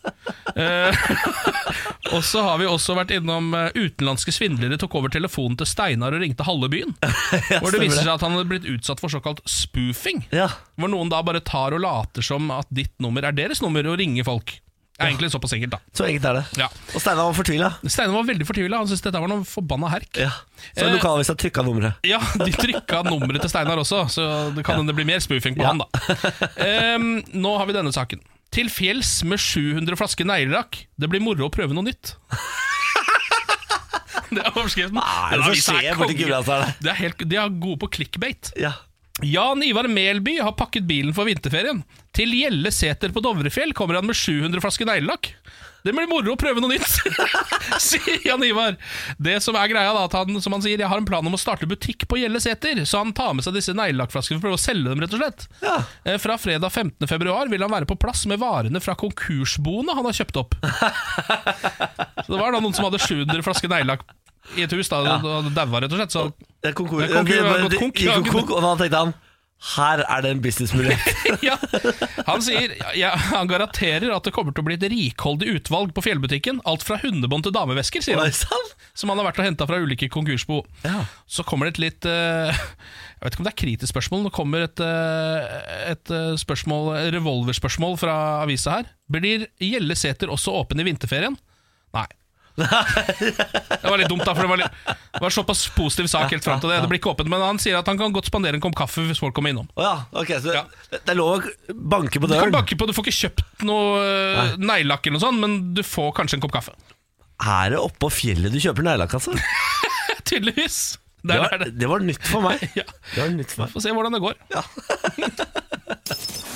Eh, og så har vi også vært innom eh, utenlandske svindlere tok over telefonen til Steinar og ringte halve byen. Hvor det viser seg at han hadde blitt utsatt for såkalt spoofing. Ja. Hvor noen da bare tar og later som at ditt nummer er deres nummer, og ringer folk. Det er egentlig såpass enkelt, da. Så enkelt er det. Ja. Og Steinar var fortvila. Steinar var veldig fortvila. Han syntes dette var noe forbanna herk. Ja. Så Eh. lokalavisa trykka nummeret. Ja, de trykka nummeret til Steinar også, så det kan hende det blir mer spoofing på Ja. han, da. Em, nå har vi denne saken. Til fjells med 700 flasker neglelakk. Det blir moro å prøve noe nytt. Det er overskriften. Hva er det Den som avisen er skjer borti konge. Gudbrandsdalen? Det er helt- De er gode på clickbait. Ja. Jan Ivar Melby har pakket bilen for vinterferien. Til Gjelle Sæter på Dovrefjell kommer han med 700 flasker neglelakk. Det blir moro å prøve noe nytt, sier Jan Ivar. Det som er greia da, at han, som han sier, jeg har en plan om å starte butikk på Gjelle Sæter, så han tar med seg disse neglelakkflaskene for å prøve å selge dem, rett og slett. Ja. Eh, Fra fredag 15. februar vil han være på plass med varene fra konkursboene han har kjøpt opp. Så det var da noen som hadde 700 flasker neglelakk i et hus, da, og daua, rett og slett. Så Det er konkurs. Det er konkurs, det var- det har gått det konk, gikk ja. konk, og da tenkte han her er det en businessmulighet. ja. Han sier ja, Han garanterer at det kommer til å bli et rikholdig utvalg på fjellbutikken. Alt fra hundebånd til damevesker, sier Oi han. sann! Som han har vært og henta fra ulike konkursbo. Ja. Så kommer det et litt eh, Jeg vet ikke om det er kritisk spørsmål. Det kommer et, eh, et eh, spørsmål, revolverspørsmål fra avisa her. Blir Gjelle Sæter også åpen i vinterferien? Nei. Det var litt dumt, da, for det var, litt, det var såpass positiv sak helt fram til det. Det blir ikke åpent, men han sier at han kan godt spandere en kopp kaffe hvis folk kommer innom. Å ja, ok, så Ja. det er lov å banke på Du kan døren. banke på, du får ikke kjøpt noe eh, neglelakk eller noe sånt, men du får kanskje en kopp kaffe. Er det oppå fjellet du kjøper neglelakkasse? Tydeligvis. Det, Der var- er det. det var nytt for meg. Ja. Det var nytt for meg. Få se hvordan det går.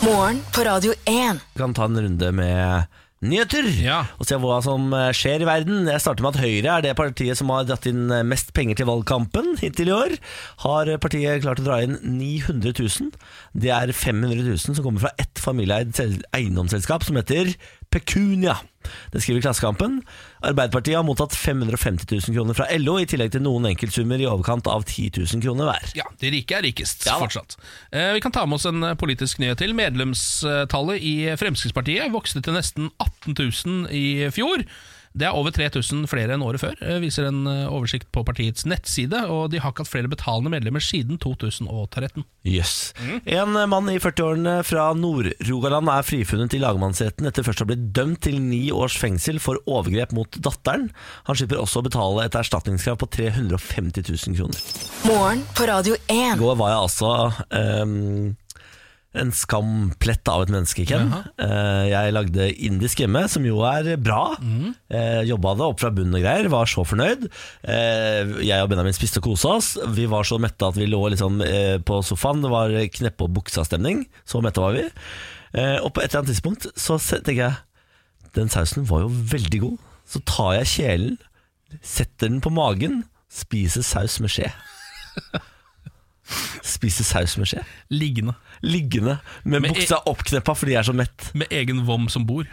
Morgen på Radio 1. Vi kan ta en runde med nyheter Ja. og se hva som eh, skjer i verden. Jeg starter med at Høyre er det partiet som har dratt inn eh, mest penger til valgkampen hittil i år. Har eh, partiet klart å dra inn 900 000. Det er 500 000 som kommer fra ett familieeid sel- eiendomsselskap som heter Pecunia. Det skriver Klassekampen. Arbeiderpartiet har mottatt 550 000 kroner fra LO, i tillegg til noen enkeltsummer i overkant av 10 000 kroner hver. Ja, De rike er rikest Ja da. fortsatt. Eh, vi kan ta med oss en eh, politisk nyhet til. Medlemstallet i Fremskrittspartiet vokste til nesten 18 000 i fjor. Det er over 3000 flere enn året før, eh, viser en eh, oversikt på partiets nettside. Og de har ikke hatt flere betalende medlemmer siden 2013. Jøss. En eh, mann i 40-årene fra Nord-Rogaland er frifunnet i lagmannsretten etter først å ha blitt dømt til ni års fengsel for overgrep mot datteren. Han slipper også å betale et erstatningskrav på 350 000 kroner. Morgen på Radio I 1. går var jeg altså ehm, en skamplett av et menneske, Ken. Eh, jeg lagde indisk hjemme, som jo er bra. Eh, jobba det opp fra bunnen og greier, var så fornøyd. Eh, jeg og Benjamin spiste og kosa oss. Vi var så mette at vi lå liksom, eh, på sofaen. Det var kneppe og buksa-stemning. Så mette var vi. Eh, og på et eller annet tidspunkt så se- tenker jeg den sausen var jo veldig god. Så tar jeg kjelen, setter den på magen, spiser saus med skje. Spiser saus med skje. Liggende. Liggende med Men- buksa oppkneppa fordi jeg er så mett. Med egen vom som bor.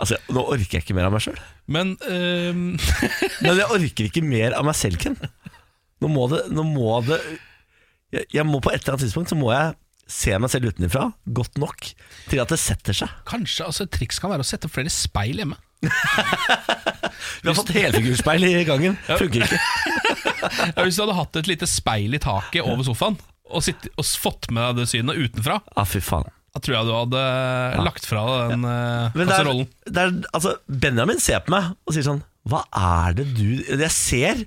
Altså, Nå orker jeg ikke mer av meg sjøl. Men ehm, Men jeg orker ikke mer av meg selv, Ken. Nå må det, nå må det jeg, jeg må På et eller annet tidspunkt så må jeg se meg selv utenfra godt nok til at det setter seg. kanskje altså, et triks kan være å sette opp flere speil hjemme. Vi har fått helfigurspeil i gangen. Funker ikke. Ja, hvis du hadde hatt et lite speil i taket over sofaen, og, sitt, og fått med deg det synet utenfra, Ah, fy faen. da tror jeg du hadde lagt fra deg den eh, Men det er, kasserollen. det er, altså, Benjamin ser på meg og sier sånn Hva er det du Jeg ser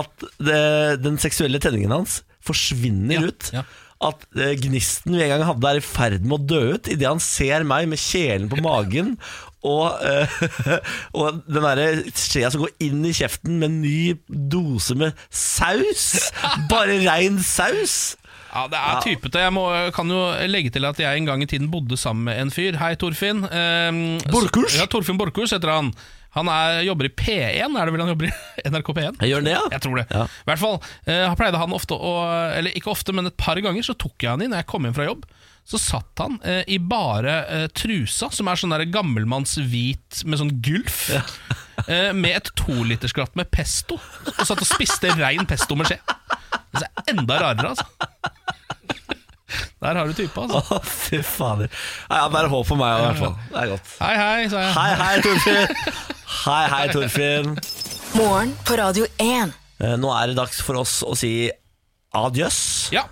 at det, den seksuelle tenningen hans forsvinner Ja, ut. ja. At eh, gnisten vi en gang hadde, er i ferd med å dø ut idet han ser meg med kjelen på magen og, eh, og den derre skjea som går inn i kjeften med en ny dose med saus. Bare rein saus. Ja, det er typete. Jeg må, kan jo legge til at jeg en gang i tiden bodde sammen med en fyr. Hei, Torfinn. Ehm, Borchhus? så- Ja, Torfinn Borchhus heter han. Han er, jobber i P1, er det vel han jobber i? NRK P1? Jeg gjør det, ja. Jeg tror det. Ja. I hvert fall eh, pleide han ofte å Eller ikke ofte, men et par ganger så tok jeg han i når jeg kom hjem fra jobb. Så satt han eh, i bare eh, trusa, som er sånn der gammelmannshvit med sånn gulf. eh, med et tolitersglatt med pesto. Og satt og spiste rein pesto med skje. Det er enda rarere, altså. Der har du typa, altså. Å, fy fader. Nei, ja, bare håp for meg, i hvert fall. Det er godt. Hei, hei, sa jeg. Hei, hei, Torfinn. Hei, hei, Torfinn. Morgen på Radio 1. Eh, Nå er det dags for oss å si adjøs. Ja.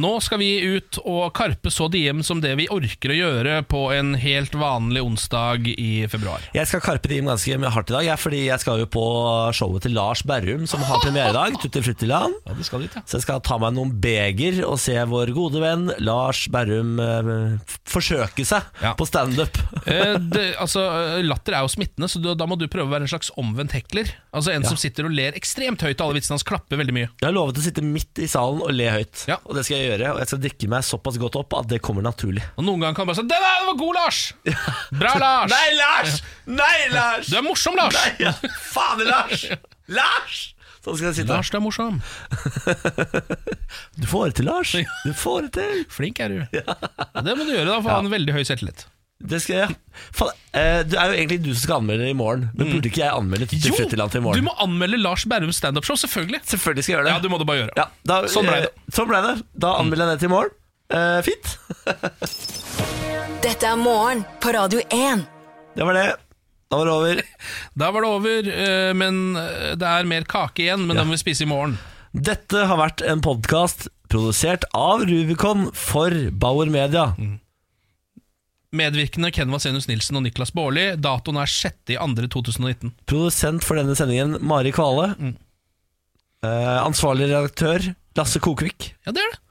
Nå skal vi ut og karpe så diem som det vi orker å gjøre på en helt vanlig onsdag i februar. Jeg skal karpe diem ganske mye hardt i dag, jeg, fordi jeg skal jo på showet til Lars Berrum, som har premiere i dag. Tutti Fruttiland. Ja, det skal dit, ja. Så jeg skal ta meg noen beger og se vår gode venn Lars Berrum eh, f- forsøke seg Ja. på standup. Eh, det, altså, eh, latter er jo smittende, så du, da må du prøve å være en slags omvendt hekler. Altså En som sitter og ler ekstremt høyt, og alle vitsene hans klapper veldig mye. Jeg har lovet å sitte midt i salen og le høyt, Ja. og det skal jeg gjøre. Og jeg skal drikke meg såpass godt opp at det kommer naturlig. Og Noen ganger kan han bare si 'Den der var god, Lars!' 'Bra, Lars!' Lars! Nei, Lars! Du er morsom, Lars! Ja, Fader, Lars! Lars! Sånn skal jeg sitte. Lars, du er morsom. Du får det til, Lars. Du får det til. Flink er du. Det må du gjøre, da, for han har veldig høy selvtillit. Det skal jeg. Faen, eh, det er jo egentlig du som skal anmelde det i morgen. Men burde ikke jeg anmelde Tutti Fruttiland til i du morgen? må anmelde Lars Berrums standup-show, selvfølgelig! Selvfølgelig skal jeg gjøre det. Ja, du må det bare gjøre. Ja, da, Sånn ble eh, det. sånn ble det. Da anmelder jeg det til i morgen. Eh, fint. Dette er morgen på Radio 1. Det var det. Da var det over. Da var det over, eh, men eh, det er mer kake igjen, men den må vi spise i morgen. Dette har vært en podkast produsert av Rubicon for Bauer Media. Medvirkende Ken Vasenius Nilsen og Niklas Baarli. Datoen er 6.2.2019. Produsent for denne sendingen, Mari Kvale. Eh, ansvarlig redaktør, Lasse Kokvik. Ja, det er det.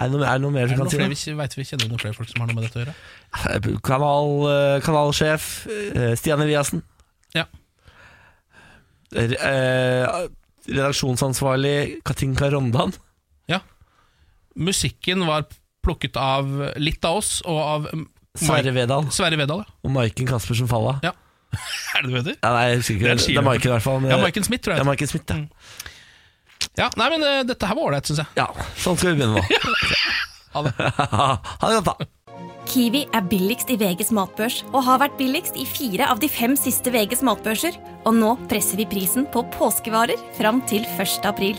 Er det noe, er det noe mer Er du det kan noen si? flere, da? vi kj- vet vi kjenner noen flere folk som har noe med dette å gjøre? Eh, Kanal, eh, kanalsjef eh, Stian Eliassen. Ja. R- eh, redaksjonsansvarlig Katinka Rondan. ja. Musikken var plukket av litt av oss, og av mm, Sverre Mai- Vedal. Sverre Vedal, ja. Og Maiken Caspersen Falla. Ja. Er det det du heter? Ja, nei, jeg husker Det ikke. er Det en er, Maiken i hvert fall. men- Ja, Maiken Smith, tror Ja, jeg. Mm. Maiken Smith, ja. Ja, nei, men eh, dette her var ålreit, syns jeg. ja. Sånn skal vi begynne nå. Ha det. ha det godt, da. Kiwi er billigst i VGs matbørs og har vært billigst i fire av de fem siste VGs matbørser. Og nå presser vi prisen på påskevarer fram til 1. april.